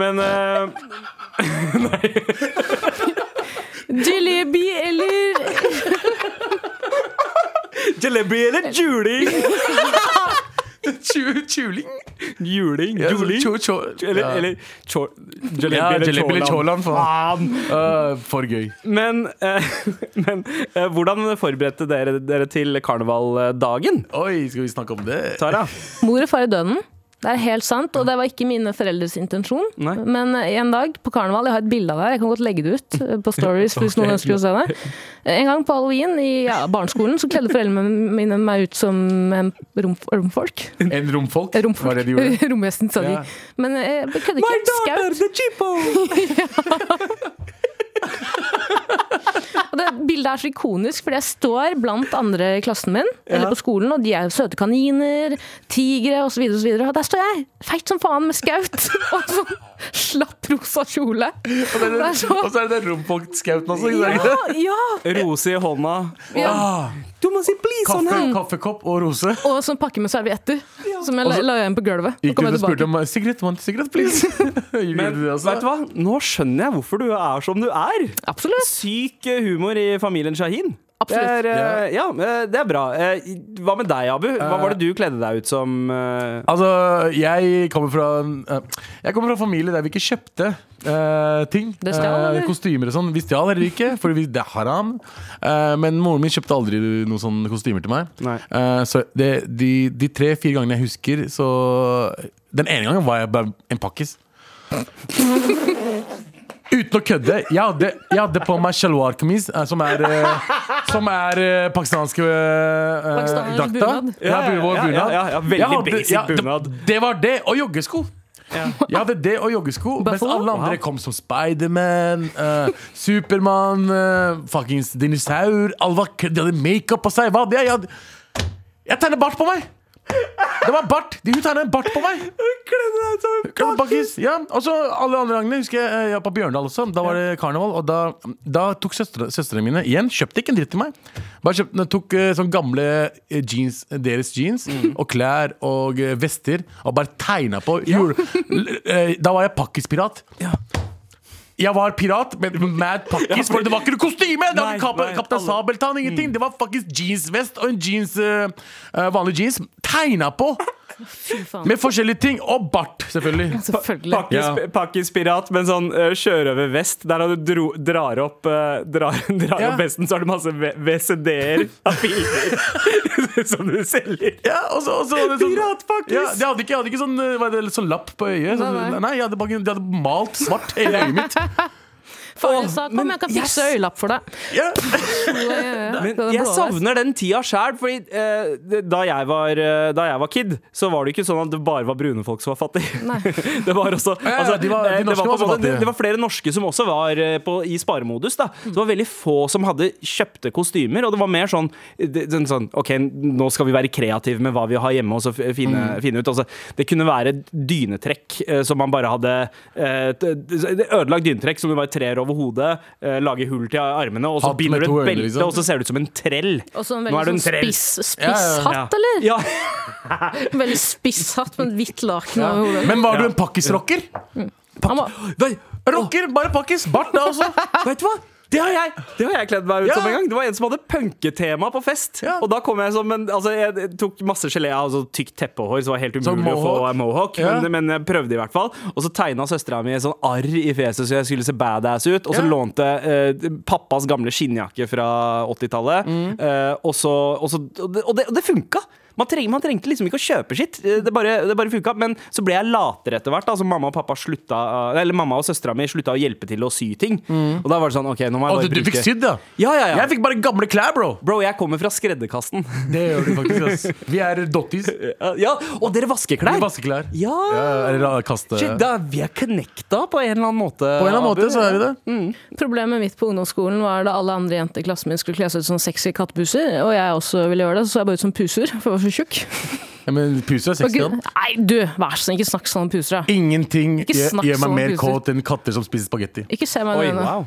Men eh,
Jalebi eller
jalebi eller
*laughs*
juling?
Tjuling?
Juling,
Ja,
juling.
tjo- tjo-
Eller,
ja.
eller chor, jalebi
Ja,
eller
jalebi eller
cholan.
cholan, faen. Eh, for gøy.
Men, eh, *laughs* men eh, hvordan forberedte dere dere til karnevaldagen,
Oi, skal vi snakke om det? *laughs*
Tara?
Mor og far i døden. Det er helt sant, og det var ikke mine foreldres intensjon.
Nei.
Men eh, en dag på karneval, jeg har et bilde av det her, jeg kan godt legge det ut eh, på
*laughs*
stories hvis noen ønsker å se det. En gang på halloween i ja, barneskolen så kledde foreldrene mine meg ut som en rom, romfolk.
En romfolk? *laughs*
Romfolk.
Var det de gjorde?
*laughs* Romvesten, sa de.
Ja.
Men eh, jeg kødder ikke. Skaut.
the
*laughs*
chippo!
Og det bildet er så ikonisk, fordi jeg står blant andre i klassen min, eller på skolen, og de er jo søte kaniner, tigre osv., og, så videre, og der står jeg, feit som faen med skaut, *laughs* og sånn slapp rosa kjole.
Og så er
Det
det,
er så-
og så er det den romfolk-scouten også. ikke sant?
Ja, ja!
Rose i hånda.
Ah,
Du må si please
kaffe, kaffekopp og rose.
Og sånn pakke med servietter, som jeg la, la igjen på gulvet. Og
Gikk du
kom
ut og
jeg
spurte
tilbake.
om eh, sigarett, mann, sigarett, please? Gjorde
Men
du det også?
vet du hva?
*laughs*
Nå skjønner jeg hvorfor du er som du er.
Absolutt.
Syk humor i familien Shahin. Det
Absolutt.
er, eh, ja, eh, det er bra. Eh, Hva med deg, Abu? Hva
Eh.
var det du kledde deg ut som? eh?
Altså, jeg kommer fra en- eh, Jeg kommer fra en familie der vi ikke kjøpte eh, ting.
Det stjal,
Eh,
eller?
kostymer og sånn. Vi stjal heller ikke, for vi, det er haram. Eh, men moren min kjøpte aldri noen sånne kostymer til meg.
Nei.
Eh, så det, de, de tre-fire gangene jeg husker, så Den ene gangen var jeg bare en pakkis. Uten å kødde. Jeg hadde, jeg hadde på meg shalwar-kamis, eh, som er, eh, som er eh, pakistanske eh,
Pakistanernes
drakta.
bunad.
Ja, bu- vår
Ja, ja,
bunad.
ja, ja, veldig
Jeg hadde-
basic bunad.
Det, det var det, og joggesko. Jeg hadde det og joggesko, mens
Buffalo?
alle andre kom som Spiderman, uh, Supermann, eh, fuckings dinosaur. Alle var, k- de hadde makeup på seg. Hva hadde jeg? Jeg, hadde, jeg tegnet bart på meg! Det var bart! De hun tegnet en bart på meg! Kledde pakkis, Ja. Og så alle andre gangene husker jeg eh, jeg var på Bjørndal også. Da var det karneval, og da, da tok søstre- søstrene mine igjen Kjøpte ikke en dritt til meg. Bare kjøpte, tok eh, sånn gamle eh, jeans, deres jeans
Mm.
og klær og eh, vester og bare tegna på. Jule- l- eh, Da var jeg pakkispirat. Jeg var pirat, men mad pakkis. For det var ikke noe kostyme! Det var
Nei,
ikke kap
nei, Mm.
Kaptein Sabeltann, ingenting. Det var faktisk jeansvest og en jeans, eh, eh, vanlig jeans tegna på
Fy faen.
med forskjellige ting. Og bart, selvfølgelig.
Selvfølgelig.
Pakkis,
Ja.
Pakkispirat med en sånn uh, sjørøvervest der du dro, drar opp eh, Drar, *laughs* drar
Ja.
opp vesten, så har du masse v- VCD-er av bilder *laughs* som du selger.
Ja, og så, og så, og så,
Piratpakkis!
Ja, de hadde ikke, jeg hadde ikke sånn, eh, hva er det, sånn lapp på øyet. Sånn,
Nei,
nei,
nei.
jeg hadde bare, de hadde malt svart hele øyet
*laughs*
mitt.
Faren sa 'kom, jeg kan fikse øyelapp for deg'.
Ja.
Ja, ja, ja.
Men
Det er
jeg
blå der.
savner den tida sjæl, Fordi eh, det- da, jeg var, eh, da jeg var kid, så var det ikke sånn at det bare var brune folk som var fattige.
Nei.
*laughs* det var også
ja,
altså,
de var- de
eh, det,
norske
var på en
var også
måte, det,
fattige.
det var flere norske som også var eh, på, i sparemodus. Da. Så det var veldig få som hadde kjøpte kostymer, og det var mer sånn, det, den sånn OK, nå skal vi være kreative med hva vi har hjemme, og så f- finne,
Mm.
finne ut. Altså, det kunne være dynetrekk eh, som man bare hadde eh, t- t- Ødelagt dynetrekk som du bare trer over hodet, eh, lager hull til armene, og så
Hatt med
binder du
to
et
øyne,
belte,
liksom.
og så ser du ut som en trell.
Og så en
Nå er du
veldig
en
sånn
trell.
spiss,
Ja, ja, ja.
spiss hatt, eller?
Ja. *laughs*
Veldig spiss hatt med et hvitt laken over hodet.
Men var du en pakkisrocker?
Han var-
Nei,
Rocker, bare pakkis. Bart da altså. også.
Vet du hva? Det har jeg Det har jeg kledd meg ut
Ja.
som en gang. Det var en som hadde punketema på fest.
Ja.
Og da kom jeg som en Altså, jeg tok masse gelé av altså, tykt teppehår, så det var helt
Så
umulig å få
mohawk.
en mohawk,
Ja.
men, men jeg prøvde i hvert fall. Og så tegna søstera mi et sånn arr i fjeset så jeg skulle se badass ut, og så
Ja.
lånte eh, pappas gamle skinnjakke fra 80-tallet,
Mm.
eh, og så Og, så, og, det, og det- og det funka! Man, treng, man trengte liksom ikke å kjøpe sitt. Eh, Det bare, det bare funka. Men så ble jeg latere etter hvert. Altså mamma og pappa slutta Eller mamma og søstera mi slutta å hjelpe til å sy ting. Og da var det sånn, OK, nå må jeg
Og
bare
Mm. du, du fikk
bruke-
sydd, da.
Ja, ja, ja.
Jeg fikk bare gamle klær, bro.
Bro, jeg kommer fra skredderkassen.
Det gjør du faktisk, ass. *laughs* Vi er dotties.
*laughs* ja, og dere vasker klær!
Vi vasker klær.
Ja!
eller kaste
Shit, da, vi er connecta på en eller annen måte.
På en eller annen måte så er vi det.
Problemet mitt på ungdomsskolen var da alle andre jenter i klassen min skulle kle seg ut som sexy kattpuser, og jeg også ville gjøre det, så så jeg bare ut som puser, *laughs* for jeg var så tjukk.
Ja, men puser er
Og
sexy.
gud,
da.
nei, du, vær så snill, ikke snakk sånn om puser, da.
Ingenting
Ikke
gjør
snakk
gjør meg
sånn,
mer
puser.
kåt enn katter som spiser spagetti.
Ikke se meg i
Oi,
øynene.
wow.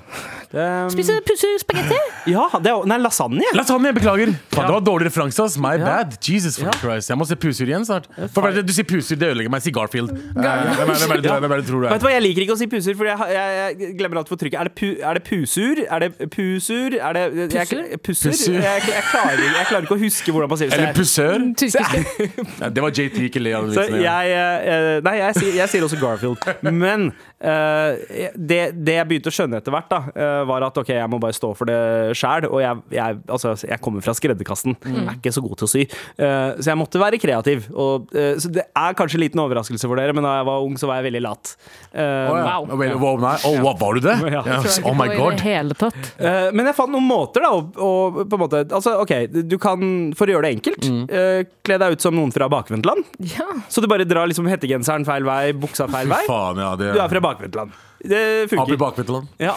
Det-
Spise puser spagetti?
*laughs*
Ja, det er, nei, lasagne.
Lasagne, beklager. Faen, det var dårlig referanse. ass. My bad. Jesus for
Ja.
Christ. Jeg må se puser igjen snart. For hva er det Du sier puser, det ødelegger meg. Si Garfield. Eh, Hvem er, hvem er, det, du- hvem er det du tror du
Vet
er?
du hva, Jeg liker ikke å si puser, for jeg, har- jeg, jeg glemmer alt for trykket. Er det, pu, er det pusur? Er det pusur? Er det jeg- jeg- Pusser?
Pusser.
Jeg, jeg, klarer, jeg klarer ikke å huske hvordan man sier det. så
Eller
jeg-
pusør?
*laughs*
Tyskiske.
Nei, det var JT, ikke le av den
Så
vitsen.
jeg,
ja.
eh, nei, jeg, sier- jeg sier også Garfield. Men eh, det, det jeg begynte å skjønne etter hvert, da, eh, var at ok, jeg må bare stå for det sjæl. Og jeg, jeg, altså, jeg kommer fra skredderkassen,
Mm.
er ikke så god til å sy. Eh, så jeg måtte være kreativ. Og, eh, så det er kanskje en liten overraskelse for dere, men da jeg var ung, så var jeg veldig lat. Eh,
Å, ja.
Wow.
Å, vel, wow, nei. Å, hva, var du det?
Ja.
Ja.
Tror jeg
Oh
ikke
my
på I
god.
det hele tatt.
Eh, men jeg fant noen måter, da. Og, og på en måte, altså, ok, du kan, For å gjøre det enkelt,
Mm.
eh, kle deg ut som noen fra bakvendtland.
Ja.
Så du bare drar liksom hettegenseren feil vei, buksa feil vei.
Faen, ja, det
Du er fra Bakvendtland. Det
Abu
funker.
Bakvetland.
Ja.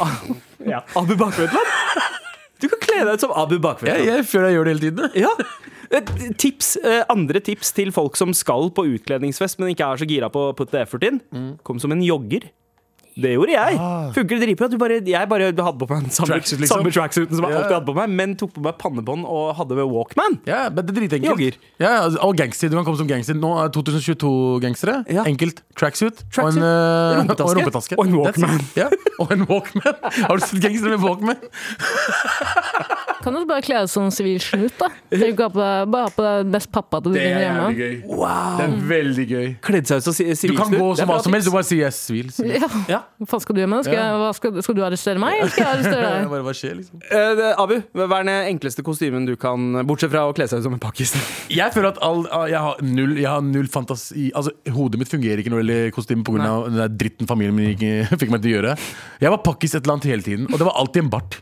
ja. Abu Bakvendtland? Du kan kle deg ut som Abu
Jeg,
Bakvendtland.
jeg føler jeg gjør det hele tiden.
Ja. Et Tips, eh, andre tips til folk som skal på utkledningsfest, men ikke er så gira på å putte effort inn. Kom som en jogger. Det gjorde jeg. Funker det dritbra? Du bare- Jeg bare hadde på meg den samme,
Tracksuit, liksom.
samme tracksuiten som jeg
Ja.
alltid hadde på meg, men tok på meg pannebånd og hadde med Walkman.
Ja, men det er dritenkelt.
Jogger.
Ja, ja, altså, og gangster. Du kan komme som gangster. Nå er 2022-gangstere.
Ja.
Enkelt. Tracksuit
Tracksuit,
og, en, eh,
rumpetaske.
og en rumpetaske.
Og en
That's it.
Walkman.
*laughs* Ja, og en Walkman. Har du sett gangstere med Walkman?
Kan du bare kle deg som sivil snut, da? Trenger ikke ha på deg- Bare ha på deg best pappa du
Det er
finner
jævlig
hjemme.
gøy. Det er veldig gøy.
Kledd seg ut som si-
Du
sivilsnutt.
kan gå
Det er
som
bra
hva som helst.
tips.
Du bare sier 'jeg er sivil'. sier du.
Ja. Hva faen skal du gjøre med det? Skal, jeg,
Ja.
hva skal, skal du arrestere meg, eller skal jeg arrestere
Ja, *laughs*
deg?
Bare, hva skjer, liksom?
Eh, det- Abu, hva er den enkleste kostymen du kan Bortsett fra å kle seg ut som en pakkis.
Jeg føler at all, ah, jeg, har null, jeg har null fantasi Altså, Hodet mitt fungerer ikke når det gjelder kostyme pga. den der dritten familien min ikke, *laughs* fikk meg til å gjøre. Jeg var pakkis et eller annet hele tiden, og det var alltid en bart.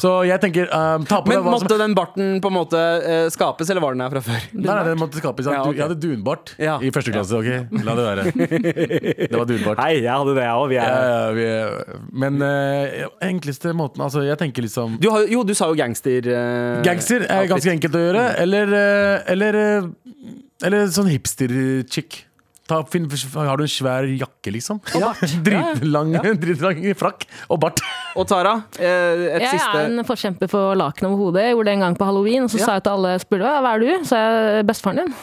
Så jeg tenker um, ta på
Men
deg hva som
måtte den barten på en måte eh, skapes, eller var den her fra før?
Nei, nei, den måtte skapes.
Ja, ok.
Jeg hadde dunbart
Ja.
i første klasse. ok? La det være. Det var dunbart.
Nei, jeg hadde det, jeg òg.
Ja, ja, vi er- men eh, enkleste måten Altså, jeg tenker liksom
Du har, jo, du sa jo gangster. eh,
Gangster er ganske enkelt å gjøre. Eller, eh, eller, eh, eller sånn hipster-chick. Ta, finn, har du en svær jakke, liksom? Dritlang, *laughs* dritlang frakk og
*laughs*
bart.
Og Tara, eh, et
Jeg
siste
er en forkjemper for laken over hodet. Jeg gjorde det en gang på halloween, og så sa jeg til alle spurte hva er du? Så jeg bestefaren din.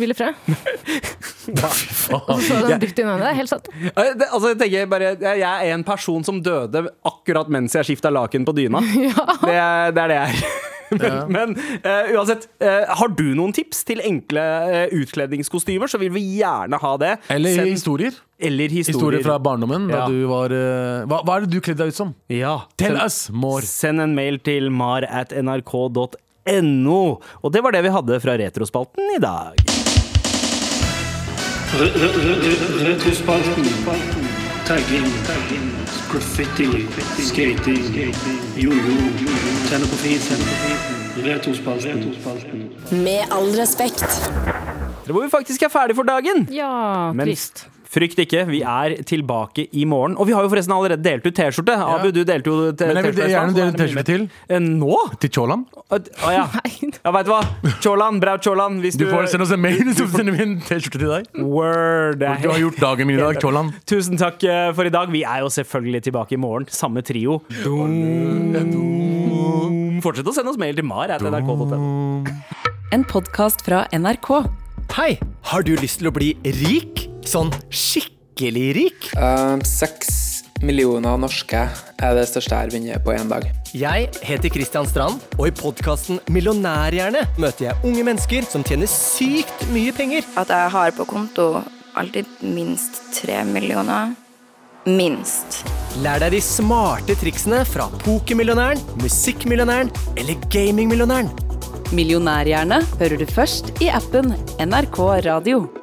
Willy
*laughs*
Fred. Og så sa den dykt inn øynene. Det er helt sant.
Eh, det, altså, jeg, tenker bare, jeg jeg er en person som døde akkurat mens jeg skifta laken på
*laughs*
dyna. Det, er- det er det
*laughs*
jeg er. Men, men eh, uansett, eh, har du noen tips til enkle eh, utkledningskostymer, så vil vi gjerne ha det.
Eller
Send-
historier.
eller historier.
Historier fra barndommen. Da
Ja.
du var, eh, hva, hva er det du kledde deg ut som?
ja.
Tell
send-
us more.
Send en mail til mar at nrk.no. Og det var det vi hadde fra Retrospalten i dag.
Re- re- re- Retrospalten. Tagging. Graffiti. Skating. Jojo. Tenne på fisen. Retrospalten.
Med all respekt.
Det hvor vi faktisk er ferdig for dagen.
Ja,
Men
trist.
frykt ikke, vi er tilbake i morgen. Og vi har jo forresten allerede delt ut T-skjorte. Abu, du delte jo t-
Men jeg vil
T-skjorte. i stad,
gjerne
så
dele
da er det
T-skjorte
mulighet.
til.
Eh, Nå?
Til Tjolan.
Å å ja. ja veit du hva? Tjolan, Braut Tjolan, hvis du,
Du får sende oss en mail, så sender vi en T-skjorte til deg.
Word. det er
Du har
helt-
gjort dagen min i dag, Tjolan.
Tusen takk eh, for i dag. Vi er jo selvfølgelig tilbake i morgen. Samme trio. Doom. Fortsett å sende oss mail til mar. at NRK.no.
En podkast fra NRK.
Hei, har du lyst til å bli rik? Sånn skikkelig rik?
Ehm, Seks millioner norske er det største jeg har vunnet på én dag.
Jeg heter Kristian Strand, og i podkasten Millionærhjerne møter jeg unge mennesker som tjener sykt mye penger.
At jeg har på konto alltid minst tre millioner. Minst.
Lær deg de smarte triksene fra pokermillionæren, musikkmillionæren eller gamingmillionæren.
Millionærhjerne hører du først i appen NRK Radio.